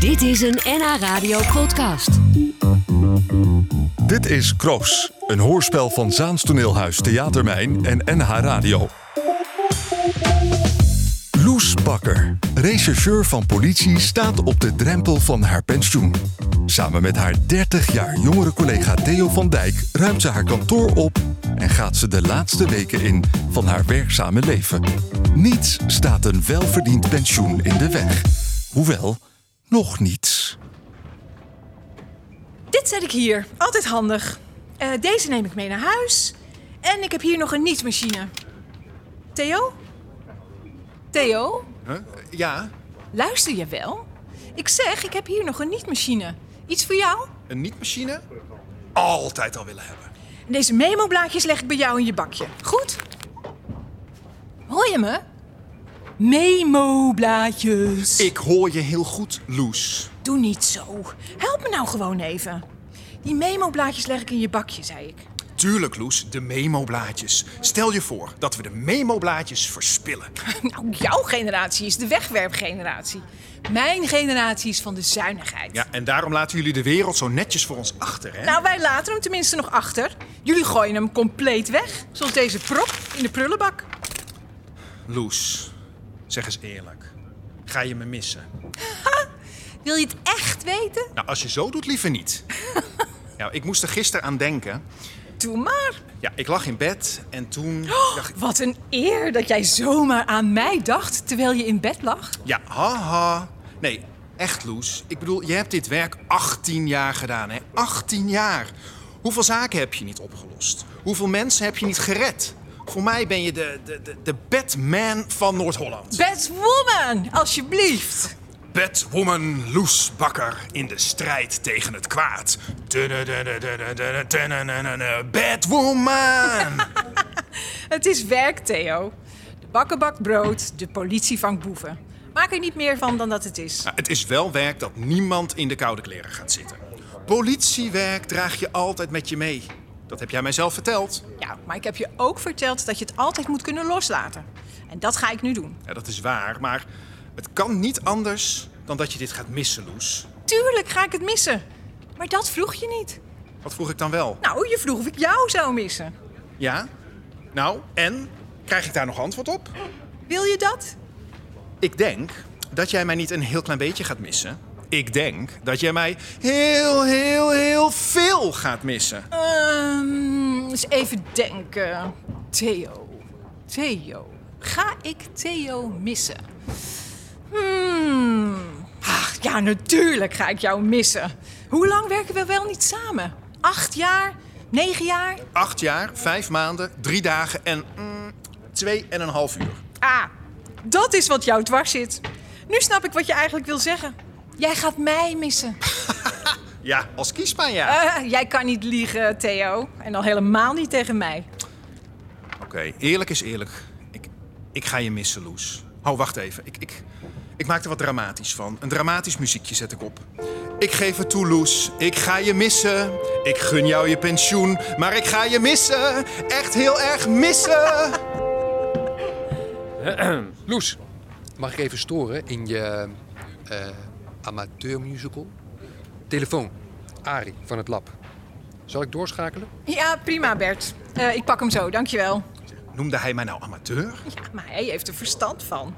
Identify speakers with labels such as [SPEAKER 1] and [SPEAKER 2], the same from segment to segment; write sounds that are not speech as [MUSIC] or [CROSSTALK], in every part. [SPEAKER 1] Dit is een NH Radio podcast.
[SPEAKER 2] Dit is Kroos, een hoorspel van Zaans Toneelhuis, Theatermijn en NH Radio. Loes Bakker, rechercheur van politie, staat op de drempel van haar pensioen. Samen met haar 30 jaar jongere collega Theo van Dijk ruimt ze haar kantoor op en gaat ze de laatste weken in van haar werkzame leven. Niets staat een welverdiend pensioen in de weg. Hoewel, nog niets.
[SPEAKER 3] Dit zet ik hier. Altijd handig. Eh, deze neem ik mee naar huis. En ik heb hier nog een nietmachine. Theo? Theo?
[SPEAKER 4] Ja,
[SPEAKER 3] Luister je wel? Ik zeg, ik heb hier nog een nietmachine. Iets voor jou?
[SPEAKER 4] een niet-machine? Altijd al willen hebben.
[SPEAKER 3] En deze memo-blaadjes leg ik bij jou in je bakje. Goed? Hoor je me? Memo-blaadjes.
[SPEAKER 4] Ik hoor je heel goed, Loes.
[SPEAKER 3] Doe niet zo. Help me nou gewoon even. Die memo-blaadjes leg ik in je bakje, zei ik.
[SPEAKER 4] Tuurlijk, Loes, de memo-blaadjes. Stel je voor dat we de memo-blaadjes verspillen.
[SPEAKER 3] Nou, jouw generatie is de wegwerpgeneratie. Mijn generatie is van de zuinigheid.
[SPEAKER 4] Ja, en daarom laten jullie de wereld zo netjes voor ons achter, hè?
[SPEAKER 3] Nou, wij laten hem tenminste nog achter. Jullie gooien hem compleet weg. Zoals deze prop in de prullenbak.
[SPEAKER 4] Loes, zeg eens eerlijk. Ga je me missen?
[SPEAKER 3] Wil je het echt weten?
[SPEAKER 4] Nou, als je zo doet, liever niet. Ja, ik moest er gisteren aan denken.
[SPEAKER 3] Doe maar.
[SPEAKER 4] Ja, ik lag in bed en toen...
[SPEAKER 3] Oh!
[SPEAKER 4] dacht ik,
[SPEAKER 3] Wat een eer dat jij zomaar aan mij dacht terwijl je in bed lag.
[SPEAKER 4] Ja, haha. Nee, echt Loes. Ik bedoel, je hebt dit werk 18 jaar gedaan, hè? 18 jaar. Hoeveel zaken heb je niet opgelost? Hoeveel mensen heb je niet gered? Voor mij ben je de, de, de, de Batman van Noord-Holland.
[SPEAKER 3] Batwoman, alsjeblieft.
[SPEAKER 4] Batwoman Loes Bakker in de strijd tegen het kwaad. Batwoman!
[SPEAKER 3] Het is werk, Theo. De bakker bakt brood, de politie vangt boeven. Maak er niet meer van dan dat het is.
[SPEAKER 4] Ja, [LAUGHS] Het is wel werk dat niemand in de koude kleren gaat zitten. Politiewerk draag je altijd met je mee. Dat heb jij mij zelf verteld.
[SPEAKER 3] Ja, maar ik heb je ook verteld dat je het altijd moet kunnen loslaten. En dat ga ik nu doen.
[SPEAKER 4] Ja, dat is waar, maar het kan niet anders dan dat je dit gaat missen, Loes.
[SPEAKER 3] Tuurlijk ga ik het missen. Maar dat vroeg je niet.
[SPEAKER 4] Wat vroeg ik dan wel?
[SPEAKER 3] Nou, je vroeg of ik jou zou missen.
[SPEAKER 4] Ja? Nou, en? Krijg ik daar nog antwoord op?
[SPEAKER 3] Wil je dat?
[SPEAKER 4] Ik denk dat jij mij niet een heel klein beetje gaat missen. Ik denk dat jij mij heel, heel, heel veel gaat missen.
[SPEAKER 3] Ehm, eens even denken. Theo. Theo. Ga ik Theo missen? Hmm. Ach, ja, natuurlijk ga ik jou missen. Hoe lang werken we wel niet samen? Acht jaar? Negen jaar?
[SPEAKER 4] Acht jaar, vijf maanden, drie dagen en mm, twee en een half uur.
[SPEAKER 3] Ah, dat is wat jou dwars zit. Nu snap ik wat je eigenlijk wil zeggen. Jij gaat mij missen.
[SPEAKER 4] Ja, als kiespijn, ja.
[SPEAKER 3] Eh, jij kan niet liegen, Theo. En al helemaal niet tegen mij.
[SPEAKER 4] Oké, eerlijk is eerlijk. Ik, ik ga je missen, Loes. Oh, wacht even. Ik, ik, ik maak er wat dramatisch van. Een dramatisch muziekje zet ik op. Ik geef het toe, Loes. Ik ga je missen. Ik gun jou je pensioen. Maar ik ga je missen. Echt heel erg missen.
[SPEAKER 5] Loes, mag ik even storen in je eh amateurmusical? Telefoon, Ari van het lab. Zal ik doorschakelen?
[SPEAKER 3] Ja, prima, Bert. Eh, ik pak hem zo, dankjewel.
[SPEAKER 4] Noemde hij mij nou amateur?
[SPEAKER 3] Ja, maar hij heeft er verstand van.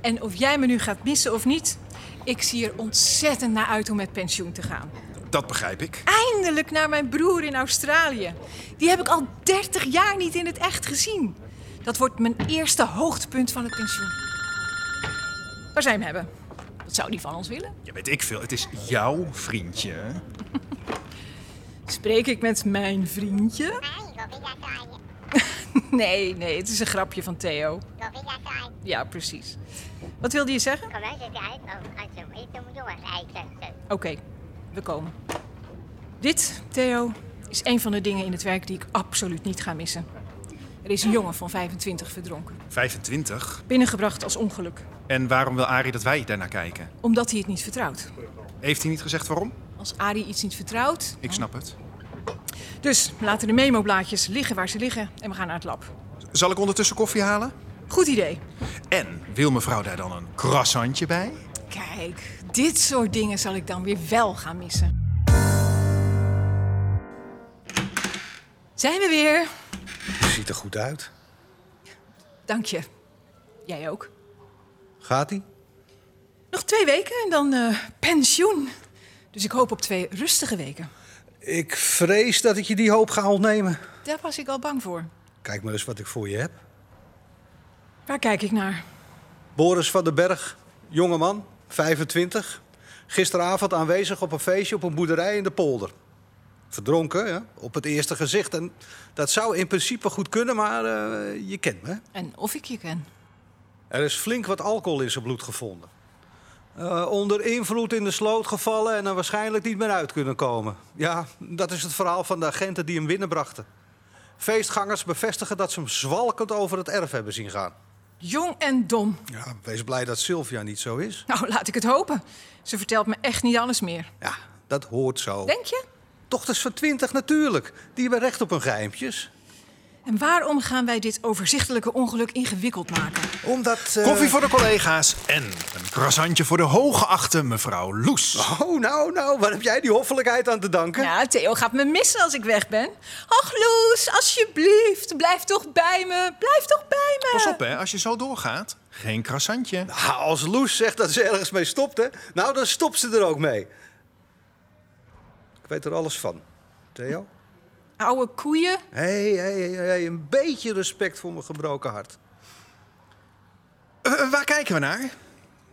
[SPEAKER 3] En of jij me nu gaat missen of niet, ik zie er ontzettend naar uit om met pensioen te gaan.
[SPEAKER 4] Dat begrijp ik.
[SPEAKER 3] Eindelijk naar mijn broer in Australië. Die heb ik al 30 jaar niet in het echt gezien. Dat wordt mijn eerste hoogtepunt van het pensioen. Waar zijn we hebben? Wat zou die van ons willen?
[SPEAKER 4] Ja, weet ik veel. Het is jouw vriendje.
[SPEAKER 3] Spreek ik met mijn vriendje? [LAUGHS] Nee, nee, het is een grapje van Theo. Ja, precies. Wat wilde je zeggen?
[SPEAKER 6] Kom eens even uit, want als je hem eet, dan moet je wel eens ei zetten.
[SPEAKER 3] Oké, we komen. Dit, Theo, is een van de dingen in het werk die ik absoluut niet ga missen. Er is een jongen van 25 verdronken.
[SPEAKER 4] 25.
[SPEAKER 3] Binnengebracht als ongeluk,
[SPEAKER 4] En waarom wil Arie dat wij daarnaar kijken?
[SPEAKER 3] omdat hij het niet vertrouwt.
[SPEAKER 4] Heeft hij niet gezegd waarom?
[SPEAKER 3] Als Arie iets niet vertrouwt...
[SPEAKER 4] Ik snap het.
[SPEAKER 3] Dus, we laten de memo-blaadjes liggen waar ze liggen en we gaan naar het lab.
[SPEAKER 4] Zal ik ondertussen koffie halen?
[SPEAKER 3] Goed idee.
[SPEAKER 4] En wil mevrouw daar dan een croissantje bij?
[SPEAKER 3] Kijk, dit soort dingen zal ik dan weer wel gaan missen. Zijn we weer?
[SPEAKER 7] Je ziet er goed uit.
[SPEAKER 3] Dank je. Jij ook.
[SPEAKER 7] Gaat ie?
[SPEAKER 3] Nog twee weken en dan eh, pensioen. Dus ik hoop op twee rustige weken.
[SPEAKER 7] Ik vrees dat ik je die hoop ga ontnemen.
[SPEAKER 3] Daar was ik al bang voor.
[SPEAKER 7] Kijk maar eens wat ik voor je heb.
[SPEAKER 3] Waar kijk ik naar?
[SPEAKER 7] Boris van den Berg, jongeman, 25. Gisteravond aanwezig op een feestje op een boerderij in de polder. Verdronken, ja, op het eerste gezicht. En dat zou in principe goed kunnen, maar eh, je kent me. hè?
[SPEAKER 3] En of ik je ken.
[SPEAKER 7] Er is flink wat alcohol in zijn bloed gevonden. Eh, onder invloed in de sloot gevallen en er waarschijnlijk niet meer uit kunnen komen. Ja, dat is het verhaal van de agenten die hem binnenbrachten. Feestgangers bevestigen dat ze hem zwalkend over het erf hebben zien gaan.
[SPEAKER 3] Jong en dom.
[SPEAKER 7] Ja, wees blij dat Sylvia niet zo is.
[SPEAKER 3] Nou, laat ik het hopen. Ze vertelt me echt niet alles meer.
[SPEAKER 7] Ja, dat hoort zo.
[SPEAKER 3] Denk je?
[SPEAKER 7] Dochters van twintig natuurlijk. Die hebben recht op hun geheimpjes.
[SPEAKER 3] En waarom gaan wij dit overzichtelijke ongeluk ingewikkeld maken?
[SPEAKER 7] Omdat... eh,
[SPEAKER 4] Koffie voor de collega's en een croissantje voor de hooggeachte mevrouw Loes.
[SPEAKER 7] Oh, nou, nou, waar heb jij die hoffelijkheid aan te danken?
[SPEAKER 3] Ja, Theo gaat me missen als ik weg ben. Ach, Loes, alsjeblieft, blijf toch bij me. Blijf toch bij me.
[SPEAKER 4] Pas op hè, als je zo doorgaat, geen croissantje.
[SPEAKER 7] Ah, Als Loes zegt dat ze ergens mee stopt, hè? Nou, dan stopt ze er ook mee. Ik weet er alles van. Theo?
[SPEAKER 3] Oude koeien.
[SPEAKER 7] Hé, hé, hé, hé, een beetje respect voor mijn gebroken hart.
[SPEAKER 4] Eh, waar kijken we naar?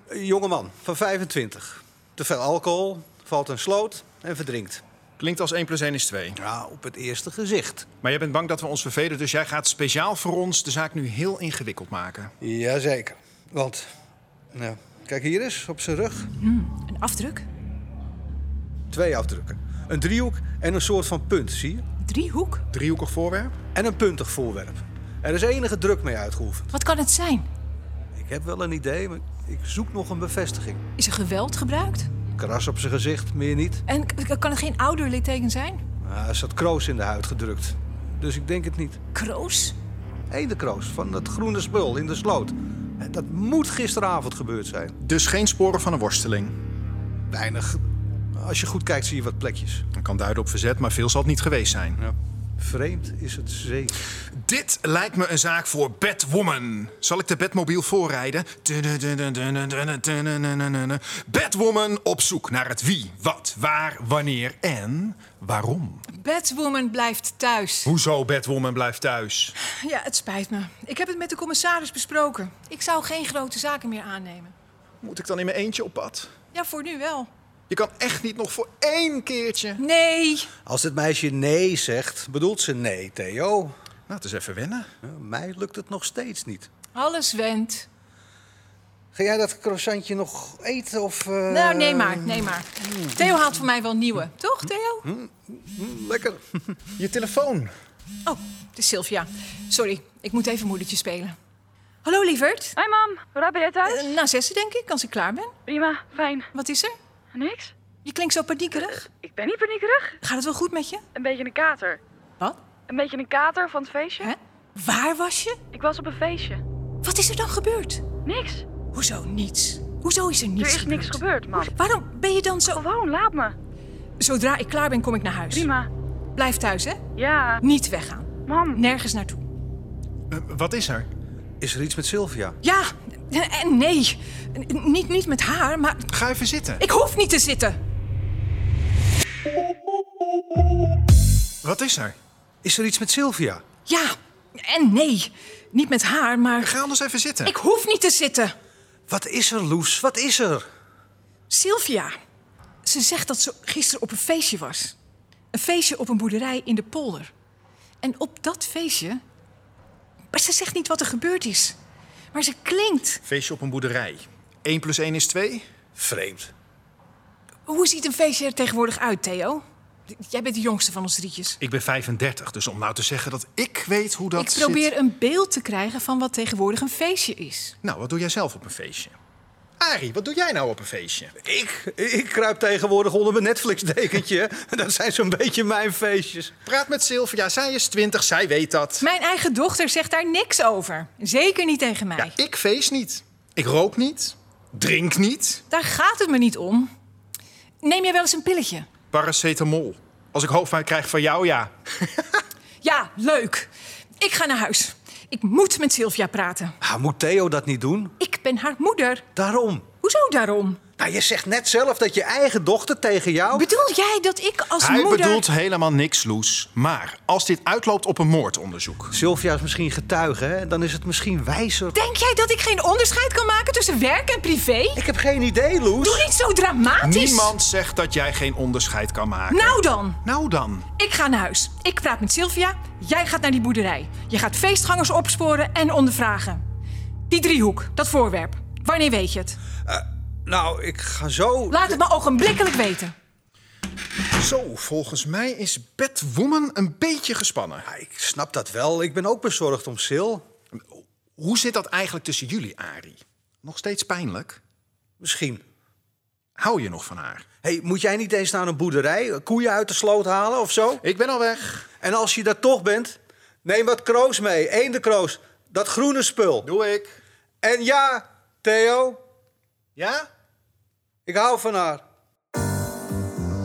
[SPEAKER 7] Een jongeman van 25. Te veel alcohol, valt een sloot en verdrinkt.
[SPEAKER 4] Klinkt als 1 plus 1 is 2.
[SPEAKER 7] Ja, op het eerste gezicht.
[SPEAKER 4] Maar jij bent bang dat we ons vervelen, dus jij gaat speciaal voor ons de zaak nu heel ingewikkeld maken.
[SPEAKER 7] Jazeker. Want, nou, kijk hier eens, op zijn rug.
[SPEAKER 3] Een afdruk.
[SPEAKER 7] Twee afdrukken. Een driehoek en een soort van punt, zie je?
[SPEAKER 3] Driehoek.
[SPEAKER 4] Driehoekig voorwerp?
[SPEAKER 7] En een puntig voorwerp. Er is enige druk mee uitgeoefend.
[SPEAKER 3] Wat kan het zijn?
[SPEAKER 7] Ik heb wel een idee, maar ik zoek nog een bevestiging.
[SPEAKER 3] Is er geweld gebruikt?
[SPEAKER 7] Kras op zijn gezicht, meer niet.
[SPEAKER 3] En k- k- kan het geen ouderlijk teken zijn?
[SPEAKER 7] Maar er zat kroos in de huid gedrukt. Dus ik denk het niet.
[SPEAKER 3] Kroos?
[SPEAKER 7] Eendekroos van dat groene spul in de sloot. En Dat moet gisteravond gebeurd zijn.
[SPEAKER 4] Dus geen sporen van een worsteling.
[SPEAKER 7] Weinig. Als je goed kijkt zie je wat plekjes.
[SPEAKER 4] Dat kan duiden op verzet, maar veel zal het niet geweest zijn.
[SPEAKER 7] Vreemd is het zeker.
[SPEAKER 4] Dit lijkt me een zaak voor Batwoman. Zal ik de Batmobiel voorrijden? Batwoman op zoek naar het wie, wat, waar, wanneer en waarom.
[SPEAKER 3] Batwoman blijft thuis.
[SPEAKER 4] Hoezo Batwoman blijft thuis?
[SPEAKER 3] Ja, het spijt me. Ik heb het met de commissaris besproken. Ik zou geen grote zaken meer aannemen.
[SPEAKER 4] Moet ik dan in mijn eentje op pad?
[SPEAKER 3] Ja, voor nu wel.
[SPEAKER 4] Je kan echt niet nog voor één keertje. Nou,
[SPEAKER 3] Nee.
[SPEAKER 7] Als het meisje nee zegt, bedoelt ze nee, Theo.
[SPEAKER 4] het is even wennen.
[SPEAKER 7] Ja, Mij lukt het nog steeds niet.
[SPEAKER 3] Alles went.
[SPEAKER 7] Ga jij dat croissantje nog eten of... eh,
[SPEAKER 3] Nou, nee maar, nee maar. Theo haalt voor mij wel nieuwe. Toch, Theo?
[SPEAKER 7] Lekker.
[SPEAKER 4] Je telefoon.
[SPEAKER 3] Oh, het is Sylvia. Sorry, ik moet even moedertje spelen. Hallo, lieverd.
[SPEAKER 8] Hoi mam, hoe laat ben jij thuis?
[SPEAKER 3] Eh, na zessen, denk ik, als ik klaar ben.
[SPEAKER 8] Prima, fijn.
[SPEAKER 3] Wat is er?
[SPEAKER 8] Niks?
[SPEAKER 3] Je klinkt zo paniekerig.
[SPEAKER 8] Ik ben niet paniekerig.
[SPEAKER 3] Gaat het wel goed met je?
[SPEAKER 8] Een beetje een kater.
[SPEAKER 3] Wat?
[SPEAKER 8] Een beetje een kater van het feestje.
[SPEAKER 3] Hè? Waar was je?
[SPEAKER 8] Ik was op een feestje.
[SPEAKER 3] Wat is er dan gebeurd?
[SPEAKER 8] Niks. Er
[SPEAKER 3] Hoezo niets? Hoezo is er niets
[SPEAKER 8] is
[SPEAKER 3] gebeurd?
[SPEAKER 8] niks gebeurd, mam.
[SPEAKER 3] Waarom ben je dan zo...
[SPEAKER 8] Gewoon, laat me.
[SPEAKER 3] Zodra ik klaar ben, kom ik naar huis.
[SPEAKER 8] Prima.
[SPEAKER 3] Blijf thuis, hè?
[SPEAKER 8] Ja,
[SPEAKER 3] Niet weggaan.
[SPEAKER 8] mam.
[SPEAKER 3] Nergens naartoe.
[SPEAKER 4] Eh, wat is er?
[SPEAKER 7] Is er iets met Sylvia?
[SPEAKER 3] Ja, en nee. N- Niet, niet met haar, maar
[SPEAKER 4] Ga even zitten.
[SPEAKER 3] ik hoef niet te zitten.
[SPEAKER 4] Wat is er?
[SPEAKER 7] Is er iets met Sylvia?
[SPEAKER 3] Ja, en nee. Niet met haar, maar
[SPEAKER 4] Ga anders dus even zitten.
[SPEAKER 3] ik hoef niet te zitten.
[SPEAKER 7] Wat is er, Loes? Wat is er?
[SPEAKER 3] Sylvia, ze zegt dat ze gisteren op een feestje was. Een feestje op een boerderij in de polder. En op dat feestje... Maar ze zegt niet wat er gebeurd is. Maar ze klinkt.
[SPEAKER 4] Feestje op een boerderij. 1 plus 1 is 2?
[SPEAKER 7] Vreemd.
[SPEAKER 3] Hoe ziet een feestje er tegenwoordig uit, Theo? Jij bent de jongste van ons drietjes.
[SPEAKER 4] Ik ben 35, dus om nou te zeggen dat ik weet hoe dat
[SPEAKER 3] ik probeer
[SPEAKER 4] zit...
[SPEAKER 3] een beeld te krijgen van wat tegenwoordig een feestje is.
[SPEAKER 4] Nou, wat doe jij zelf op een feestje? Arie, wat doe jij nou op een feestje?
[SPEAKER 7] Ik, ik kruip tegenwoordig onder mijn Netflix-dekentje. [LAUGHS] Dat zijn zo'n beetje mijn feestjes.
[SPEAKER 4] Praat met Sylvia, zij is 20, zij weet dat.
[SPEAKER 3] Mijn eigen dochter zegt daar niks over. Zeker niet tegen mij.
[SPEAKER 4] Ja, ik feest niet. Ik rook niet. Drink niet.
[SPEAKER 3] Daar gaat het me niet om. Neem jij wel eens een pilletje?
[SPEAKER 4] Paracetamol. Als ik hoofdpijn krijg van jou, ja.
[SPEAKER 3] Ja, leuk. Ik ga naar huis. Ik moet met Sylvia praten.
[SPEAKER 7] Ah, moet Theo dat niet doen?
[SPEAKER 3] Ik ben haar moeder.
[SPEAKER 7] Daarom.
[SPEAKER 3] Hoezo daarom?
[SPEAKER 7] Nou, je zegt net zelf dat je eigen dochter tegen jou...
[SPEAKER 3] Bedoel jij dat ik als
[SPEAKER 4] Hij
[SPEAKER 3] moeder...
[SPEAKER 4] bedoelt helemaal niks, Loes. Maar als dit uitloopt op een moordonderzoek...
[SPEAKER 7] Sylvia is misschien getuige, hè? Dan is het misschien wijzer.
[SPEAKER 3] Denk jij dat ik geen onderscheid kan maken tussen werk en privé?
[SPEAKER 7] Ik heb geen idee, Loes.
[SPEAKER 3] Doe niet zo dramatisch.
[SPEAKER 4] Niemand zegt dat jij geen onderscheid kan maken.
[SPEAKER 3] Nou dan.
[SPEAKER 4] Nou dan.
[SPEAKER 3] Ik ga naar huis. Ik praat met Sylvia. Jij gaat naar die boerderij. Je gaat feestgangers opsporen en ondervragen. Die driehoek, dat voorwerp. Wanneer weet je het?
[SPEAKER 7] Nou, ik ga zo...
[SPEAKER 3] Laat het me ogenblikkelijk weten.
[SPEAKER 4] Zo, volgens mij is Batwoman een beetje gespannen.
[SPEAKER 7] Ja, ik snap dat wel. Ik ben ook bezorgd om Sil.
[SPEAKER 4] Hoe zit dat eigenlijk tussen jullie, Arie? Nog steeds pijnlijk?
[SPEAKER 7] Misschien.
[SPEAKER 4] Hou je nog van haar?
[SPEAKER 7] hey, moet jij niet eens naar een boerderij? Koeien uit de sloot halen of zo?
[SPEAKER 4] Ik ben al weg.
[SPEAKER 7] En als je daar toch bent, neem wat kroos mee. Eendenkroos. Dat groene spul.
[SPEAKER 4] Doe ik.
[SPEAKER 7] En ja, Theo,
[SPEAKER 4] Ja?
[SPEAKER 7] ik hou van haar.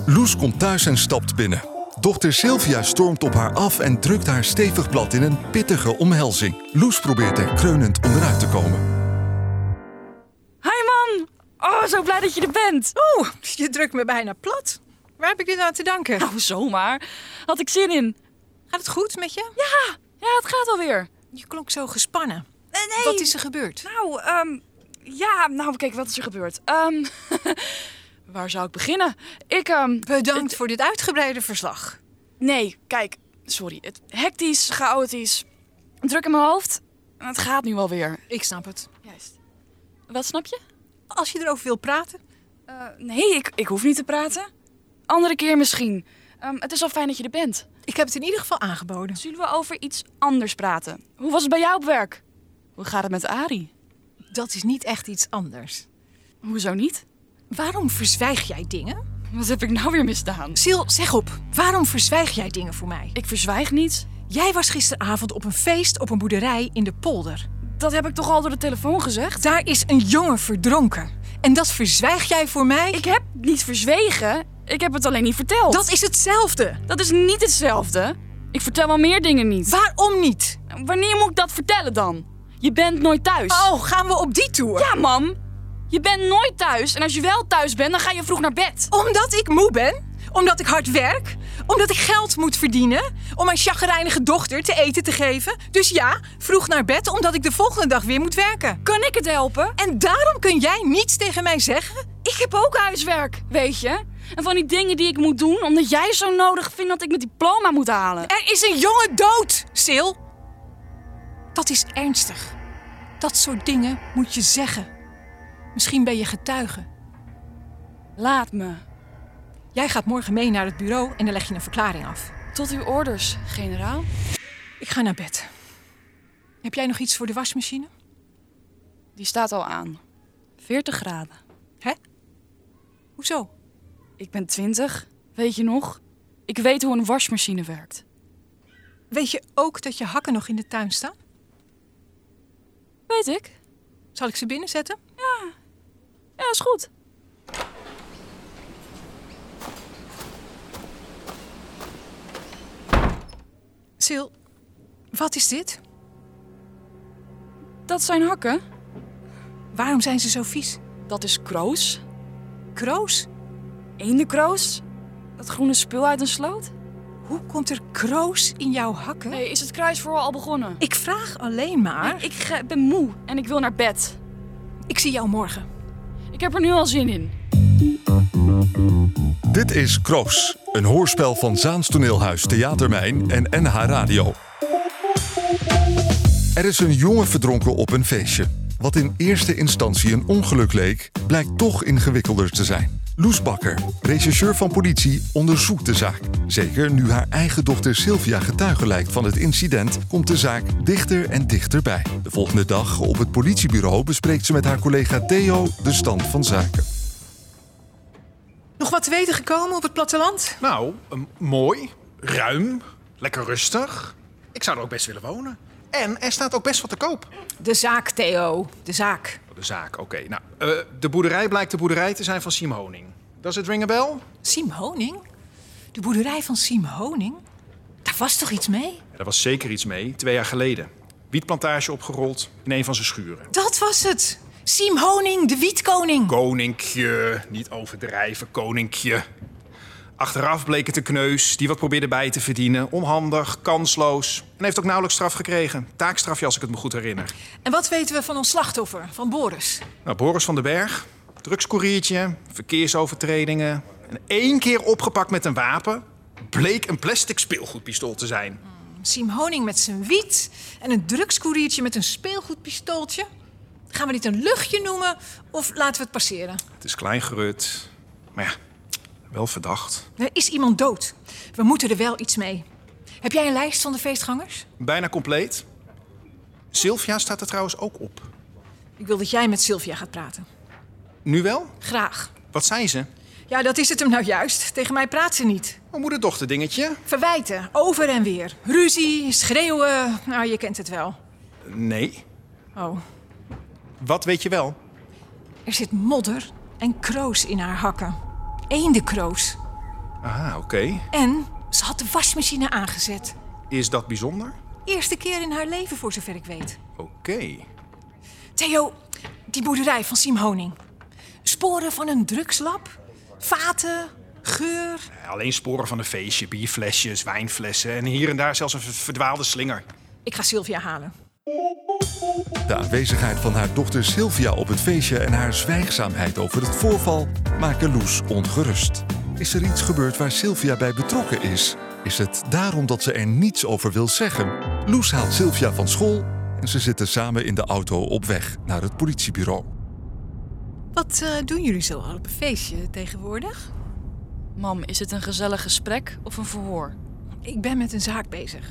[SPEAKER 2] Loes komt thuis en stapt binnen. Dochter Sylvia stormt op haar af en drukt haar stevig blad in een pittige omhelzing. Loes probeert er kreunend onderuit te komen.
[SPEAKER 9] Hi man! Oh, zo blij dat je er bent.
[SPEAKER 3] Oeh, je drukt me bijna plat. Waar heb ik dit aan te danken?
[SPEAKER 9] Nou, zomaar. Had ik zin in.
[SPEAKER 3] Gaat het goed met je?
[SPEAKER 9] Ja, ja het gaat alweer.
[SPEAKER 3] Je klonk zo gespannen.
[SPEAKER 9] Nee,
[SPEAKER 3] Wat is er gebeurd?
[SPEAKER 9] Nou, ehm, ja, nou kijk, wat is er gebeurd? Ehm, [LAUGHS] waar zou ik beginnen? Ik, ehm,
[SPEAKER 3] Bedankt voor dit uitgebreide verslag.
[SPEAKER 9] nee, kijk, sorry. Het, hectisch, chaotisch, druk in mijn hoofd. Het gaat nu alweer.
[SPEAKER 3] Ik snap het.
[SPEAKER 9] Juist. Wat snap je?
[SPEAKER 3] Als je erover wil praten.
[SPEAKER 9] Eh, nee, ik, ik hoef niet te praten. Andere keer misschien. Ehm, het is al fijn dat je er bent.
[SPEAKER 3] Ik heb het in ieder geval aangeboden.
[SPEAKER 9] Zullen we over iets anders praten? Hoe was het bij jou op werk? Hoe gaat het met Ari?
[SPEAKER 3] Dat is niet echt iets anders.
[SPEAKER 9] Hoezo niet?
[SPEAKER 3] Waarom verzwijg jij dingen?
[SPEAKER 9] Wat heb ik nou weer misdaan?
[SPEAKER 3] Sil, zeg op. Waarom verzwijg jij dingen voor mij?
[SPEAKER 9] Ik verzwijg niets.
[SPEAKER 3] Jij was gisteravond op een feest op een boerderij in de polder.
[SPEAKER 9] Dat heb ik toch al door de telefoon gezegd?
[SPEAKER 3] Daar is een jongen verdronken. En dat verzwijg jij voor mij?
[SPEAKER 9] Ik heb niet verzwegen. Ik heb het alleen niet verteld.
[SPEAKER 3] Dat is hetzelfde.
[SPEAKER 9] Dat is niet hetzelfde. Ik vertel wel meer dingen niet.
[SPEAKER 3] Waarom niet?
[SPEAKER 9] Wanneer moet ik dat vertellen dan? Je bent nooit thuis.
[SPEAKER 3] Oh, gaan we op die tour?
[SPEAKER 9] Ja, mam. Je bent nooit thuis. En als je wel thuis bent, dan ga je vroeg naar bed.
[SPEAKER 3] Omdat ik moe ben? Omdat ik hard werk? Omdat ik geld moet verdienen? Om mijn chagrijnige dochter te eten te geven? Dus ja, vroeg naar bed omdat ik de volgende dag weer moet werken.
[SPEAKER 9] Kan ik het helpen?
[SPEAKER 3] En daarom kun jij niets tegen mij zeggen?
[SPEAKER 9] Ik heb ook huiswerk, weet je? En van die dingen die ik moet doen, omdat jij zo nodig vindt dat ik mijn diploma moet halen.
[SPEAKER 3] Er is een jongen dood, Sil. Dat is ernstig. Dat soort dingen moet je zeggen. Misschien ben je getuige.
[SPEAKER 9] Laat me.
[SPEAKER 3] Jij gaat morgen mee naar het bureau en dan leg je een verklaring af.
[SPEAKER 9] Tot uw orders, generaal.
[SPEAKER 3] Ik ga naar bed. Heb jij nog iets voor de wasmachine?
[SPEAKER 9] Die staat al aan. 40 graden.
[SPEAKER 3] Hè? Hoezo?
[SPEAKER 9] Ik ben 20, weet je nog? Ik weet hoe een wasmachine werkt.
[SPEAKER 3] Weet je ook dat je hakken nog in de tuin staan?
[SPEAKER 9] Weet ik?
[SPEAKER 3] Zal ik ze binnenzetten?
[SPEAKER 9] Ja, is goed.
[SPEAKER 3] Sil, wat is dit?
[SPEAKER 9] Dat zijn hakken.
[SPEAKER 3] Waarom zijn ze zo vies?
[SPEAKER 9] Dat is kroos.
[SPEAKER 3] Kroos?
[SPEAKER 9] Eendenkroos. Dat groene spul uit een sloot.
[SPEAKER 3] Hoe komt er kroos in jouw hakken?
[SPEAKER 9] Nee, is het kruisverhoor al begonnen?
[SPEAKER 3] Ik vraag alleen maar.
[SPEAKER 9] Ik ge- ben moe en ik wil naar bed.
[SPEAKER 3] Ik zie jou morgen.
[SPEAKER 9] Ik heb er nu al zin in.
[SPEAKER 2] Dit is Kroos, een hoorspel van Zaans Toneelhuis, Theatermijn en NH Radio. Er is een jongen verdronken op een feestje. Wat in eerste instantie een ongeluk leek, blijkt toch ingewikkelder te zijn. Loes Bakker, rechercheur van politie, onderzoekt de zaak. Zeker nu haar eigen dochter Sylvia getuige lijkt van het incident, komt de zaak dichter en dichterbij. De volgende dag op het politiebureau bespreekt ze met haar collega Theo de stand van zaken.
[SPEAKER 3] Nog wat te weten gekomen op het platteland?
[SPEAKER 4] Nou, eh, mooi, ruim, lekker rustig. Ik zou er ook best willen wonen. En er staat ook best wat te koop.
[SPEAKER 3] De zaak, Theo. De zaak.
[SPEAKER 4] Oké, de zaak. Oké, nou, eh, de boerderij blijkt de boerderij te zijn van Siem Honing. Dat is het ring a bell?
[SPEAKER 3] Siem Honing? De boerderij van Siem Honing? Daar was toch iets mee?
[SPEAKER 4] Ja, daar was zeker iets mee, twee jaar geleden. Wietplantage opgerold in een van zijn schuren.
[SPEAKER 3] Dat was het! Siem Honing, de wietkoning.
[SPEAKER 4] Koninkje, niet overdrijven, koninkje. Achteraf bleek het een kneus die wat probeerde bij te verdienen. Onhandig, kansloos. En heeft ook nauwelijks straf gekregen. Taakstrafje, als ik het me goed herinner.
[SPEAKER 3] En wat weten we van ons slachtoffer, van Boris?
[SPEAKER 4] Nou, Boris van den Berg, drugscouriertje, verkeersovertredingen. En één keer opgepakt met een wapen bleek een plastic speelgoedpistool te zijn.
[SPEAKER 3] Siem Honing met zijn wiet en een drugscouriertje met een speelgoedpistooltje? Gaan we dit een luchtje noemen of laten we het passeren?
[SPEAKER 4] Het is klein gerut, maar ja, wel verdacht.
[SPEAKER 3] Er is iemand dood. We moeten er wel iets mee. Heb jij een lijst van de feestgangers?
[SPEAKER 4] Bijna compleet. Sylvia staat er trouwens ook op.
[SPEAKER 3] Ik wil dat jij met Sylvia gaat praten.
[SPEAKER 4] Nu wel?
[SPEAKER 3] Graag.
[SPEAKER 4] Wat zei ze?
[SPEAKER 3] Ja, dat is het hem nou juist. Tegen mij praat ze niet.
[SPEAKER 4] Mijn moeder-dochter dingetje.
[SPEAKER 3] Verwijten, over en weer. Ruzie, schreeuwen. Nou, je kent het wel.
[SPEAKER 4] Nee.
[SPEAKER 3] Oh,
[SPEAKER 4] Wat weet je wel?
[SPEAKER 3] er zit modder en kroos in haar hakken. Eendekroos.
[SPEAKER 4] Ah, oké.
[SPEAKER 3] En ze had de wasmachine aangezet.
[SPEAKER 4] Is dat bijzonder?
[SPEAKER 3] Eerste keer in haar leven, voor zover ik weet.
[SPEAKER 4] Oké.
[SPEAKER 3] Theo, die boerderij van Siem Honing. Sporen van een drugslab, vaten, geur.
[SPEAKER 4] Alleen sporen van een feestje, bierflesjes, wijnflessen en hier en daar zelfs een verdwaalde slinger.
[SPEAKER 3] Ik ga Sylvia halen.
[SPEAKER 2] De aanwezigheid van haar dochter Sylvia op het feestje en haar zwijgzaamheid over het voorval maken Loes ongerust. Is er iets gebeurd waar Sylvia bij betrokken is? Is het daarom dat ze er niets over wil zeggen? Loes haalt Sylvia van school en ze zitten samen in de auto op weg naar het politiebureau.
[SPEAKER 10] Wat eh, doen jullie zo al op een feestje tegenwoordig?
[SPEAKER 9] Mam, is het een gezellig gesprek of een verhoor?
[SPEAKER 3] Ik ben met een zaak bezig.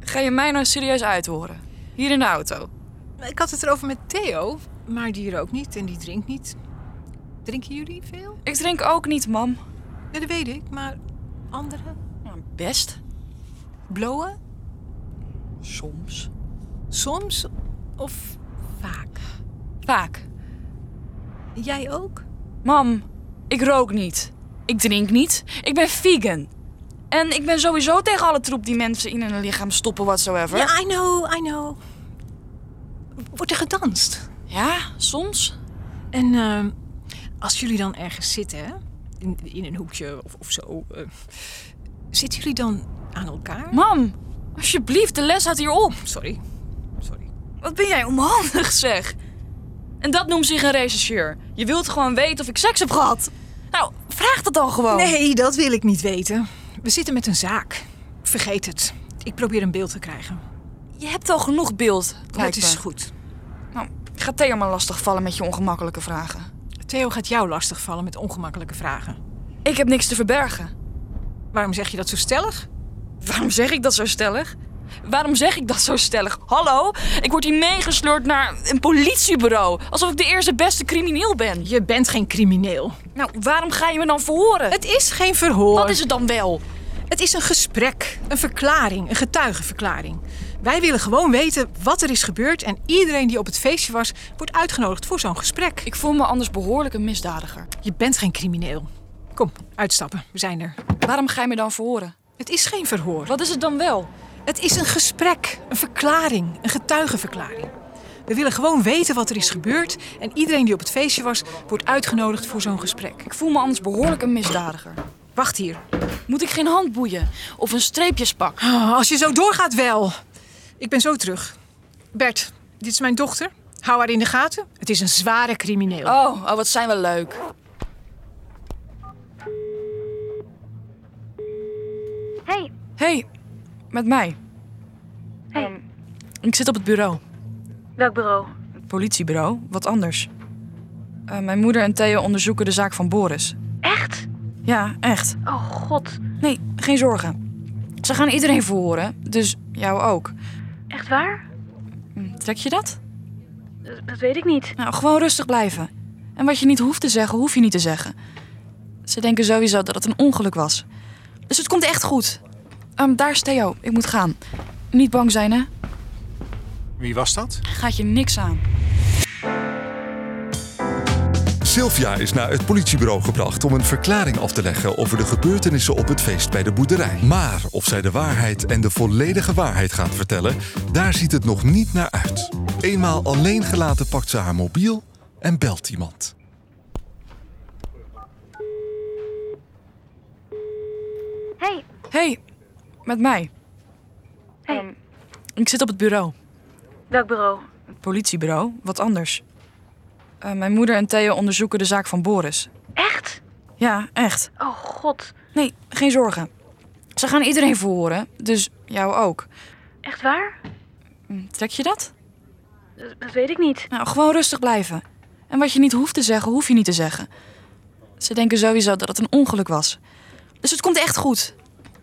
[SPEAKER 9] Ga je mij nou serieus uithoren? Hier in de auto.
[SPEAKER 10] Ik had het erover met Theo.
[SPEAKER 3] Maar die rookt niet en die drinkt niet.
[SPEAKER 10] Drinken jullie veel?
[SPEAKER 9] Ik drink ook niet, mam.
[SPEAKER 3] Ja, dat weet ik, maar anderen?
[SPEAKER 9] Nou, Best.
[SPEAKER 3] Blowen?
[SPEAKER 9] Soms.
[SPEAKER 3] Soms of vaak?
[SPEAKER 9] Vaak.
[SPEAKER 10] Jij ook?
[SPEAKER 9] Mam, ik rook niet. Ik drink niet. Ik ben vegan. En ik ben sowieso tegen alle troep die mensen in hun lichaam stoppen, whatsoever.
[SPEAKER 3] Ja, I know, I know. Wordt er gedanst?
[SPEAKER 9] ja soms.
[SPEAKER 3] En ehm, als jullie dan ergens zitten, hè? In, in een hoekje of, of zo... eh, zitten jullie dan aan elkaar?
[SPEAKER 9] Mam, alsjeblieft, de les staat hier op.
[SPEAKER 3] Sorry. Sorry.
[SPEAKER 9] Wat ben jij onhandig, zeg. En dat noemt zich een rechercheur. Je wilt gewoon weten of ik seks heb gehad. Nou, vraag dat dan gewoon.
[SPEAKER 3] Nee, dat wil ik niet weten. We zitten met een zaak. Vergeet het. Ik probeer een beeld te krijgen.
[SPEAKER 9] Je hebt al genoeg beeld,
[SPEAKER 3] Het
[SPEAKER 9] lijkt
[SPEAKER 3] is
[SPEAKER 9] me.
[SPEAKER 3] goed.
[SPEAKER 9] Nou, ga Theo maar lastigvallen met je ongemakkelijke vragen.
[SPEAKER 3] Theo gaat jou lastigvallen met ongemakkelijke vragen.
[SPEAKER 9] Ik heb niks te verbergen.
[SPEAKER 3] Waarom zeg je dat zo stellig?
[SPEAKER 9] Waarom zeg ik dat zo stellig? Waarom zeg ik dat zo stellig? Hallo, ik word hier meegesleurd naar een politiebureau. Alsof ik de eerste beste crimineel ben.
[SPEAKER 3] Je bent geen crimineel.
[SPEAKER 9] Nou, waarom ga je me dan verhoren?
[SPEAKER 3] Het is geen verhoor.
[SPEAKER 9] Wat is het dan wel?
[SPEAKER 3] Het is een gesprek, een verklaring, een getuigenverklaring. Wij willen gewoon weten wat er is gebeurd en iedereen die op het feestje was, wordt uitgenodigd voor zo'n gesprek.
[SPEAKER 9] Ik voel me anders behoorlijk een misdadiger.
[SPEAKER 3] Je bent geen crimineel. Kom, uitstappen. We zijn er.
[SPEAKER 9] Waarom ga je me dan verhoren?
[SPEAKER 3] Het is geen verhoor.
[SPEAKER 9] Wat is het dan wel?
[SPEAKER 3] Het is een gesprek, een verklaring, een getuigenverklaring. We willen gewoon weten wat er is gebeurd en iedereen die op het feestje was, wordt uitgenodigd voor zo'n gesprek.
[SPEAKER 9] Ik voel me anders behoorlijk een misdadiger.
[SPEAKER 3] Wacht hier.
[SPEAKER 9] Moet ik geen handboeien of een streepjespak?
[SPEAKER 3] Oh, als je zo doorgaat, wel. Ik ben zo terug. Bert, dit is mijn dochter. Hou haar in de gaten. Het is een zware crimineel.
[SPEAKER 9] Oh, oh, wat zijn we leuk.
[SPEAKER 8] Hey,
[SPEAKER 9] hey, met mij.
[SPEAKER 8] Hey.
[SPEAKER 9] Ehm, ik zit op het bureau.
[SPEAKER 8] welk bureau?
[SPEAKER 9] Het politiebureau, wat anders. Eh, mijn moeder en Theo onderzoeken de zaak van Boris.
[SPEAKER 8] Echt?
[SPEAKER 9] Ja, echt.
[SPEAKER 8] Oh god,
[SPEAKER 9] Nee, geen zorgen. Ze gaan iedereen verhoren, dus jou ook.
[SPEAKER 8] echt waar?
[SPEAKER 9] Hm, Trek je dat?
[SPEAKER 8] Dat, dat weet ik niet.
[SPEAKER 9] Nou, gewoon rustig blijven. En wat je niet hoeft te zeggen, hoef je niet te zeggen. Ze denken sowieso dat het een ongeluk was. Dus het komt echt goed. Ehm, daar is Theo. Ik moet gaan. Niet bang zijn, hè?
[SPEAKER 4] Wie was dat?
[SPEAKER 9] Gaat je niks aan.
[SPEAKER 2] Sylvia is naar het politiebureau gebracht om een verklaring af te leggen over de gebeurtenissen op het feest bij de boerderij. Maar of zij de waarheid en de volledige waarheid gaat vertellen, daar ziet het nog niet naar uit. Eenmaal alleen gelaten pakt ze haar mobiel en belt iemand.
[SPEAKER 9] Hey. Hey, met mij.
[SPEAKER 8] Hey.
[SPEAKER 9] Ehm, ik zit op het bureau.
[SPEAKER 8] Welk bureau?
[SPEAKER 9] Het politiebureau, wat anders. Eh, mijn moeder en Theo onderzoeken de zaak van Boris.
[SPEAKER 8] Echt?
[SPEAKER 9] Ja, echt.
[SPEAKER 8] Oh god,
[SPEAKER 9] Nee, geen zorgen. Ze gaan iedereen verhoren, dus jou ook.
[SPEAKER 8] echt waar?
[SPEAKER 9] Hm, Trek je dat?
[SPEAKER 8] Dat, dat weet ik niet.
[SPEAKER 9] Nou, gewoon rustig blijven. En wat je niet hoeft te zeggen, hoef je niet te zeggen. Ze denken sowieso dat het een ongeluk was. Dus het komt echt goed.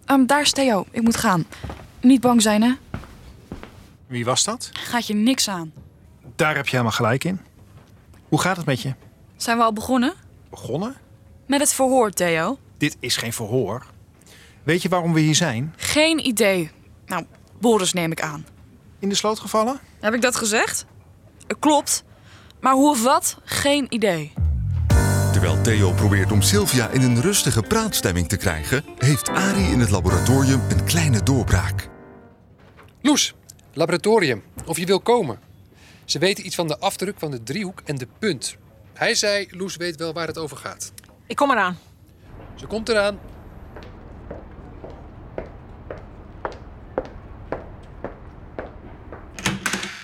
[SPEAKER 9] Ehm, daar is Theo, ik moet gaan. Niet bang zijn, hè?
[SPEAKER 4] Wie was dat?
[SPEAKER 9] Gaat je niks aan.
[SPEAKER 4] Daar heb je helemaal gelijk in. Hoe gaat het met je?
[SPEAKER 9] Zijn we al begonnen?
[SPEAKER 4] Begonnen?
[SPEAKER 9] Met het verhoor, Theo.
[SPEAKER 4] Dit is geen verhoor. Weet je waarom we hier zijn?
[SPEAKER 9] Geen idee. Nou, Boris neem ik aan.
[SPEAKER 4] In de sloot gevallen?
[SPEAKER 9] Heb ik dat gezegd? Eh, Klopt. Maar hoe of wat? Geen idee.
[SPEAKER 2] Terwijl Theo probeert om Sylvia in een rustige praatstemming te krijgen, heeft Ari in het laboratorium een kleine doorbraak.
[SPEAKER 5] Loes, laboratorium, of je wil komen. Ze weten iets van de afdruk van de driehoek en de punt. Hij zei, Loes weet wel waar het over gaat.
[SPEAKER 3] Ik kom eraan.
[SPEAKER 5] Ze komt eraan.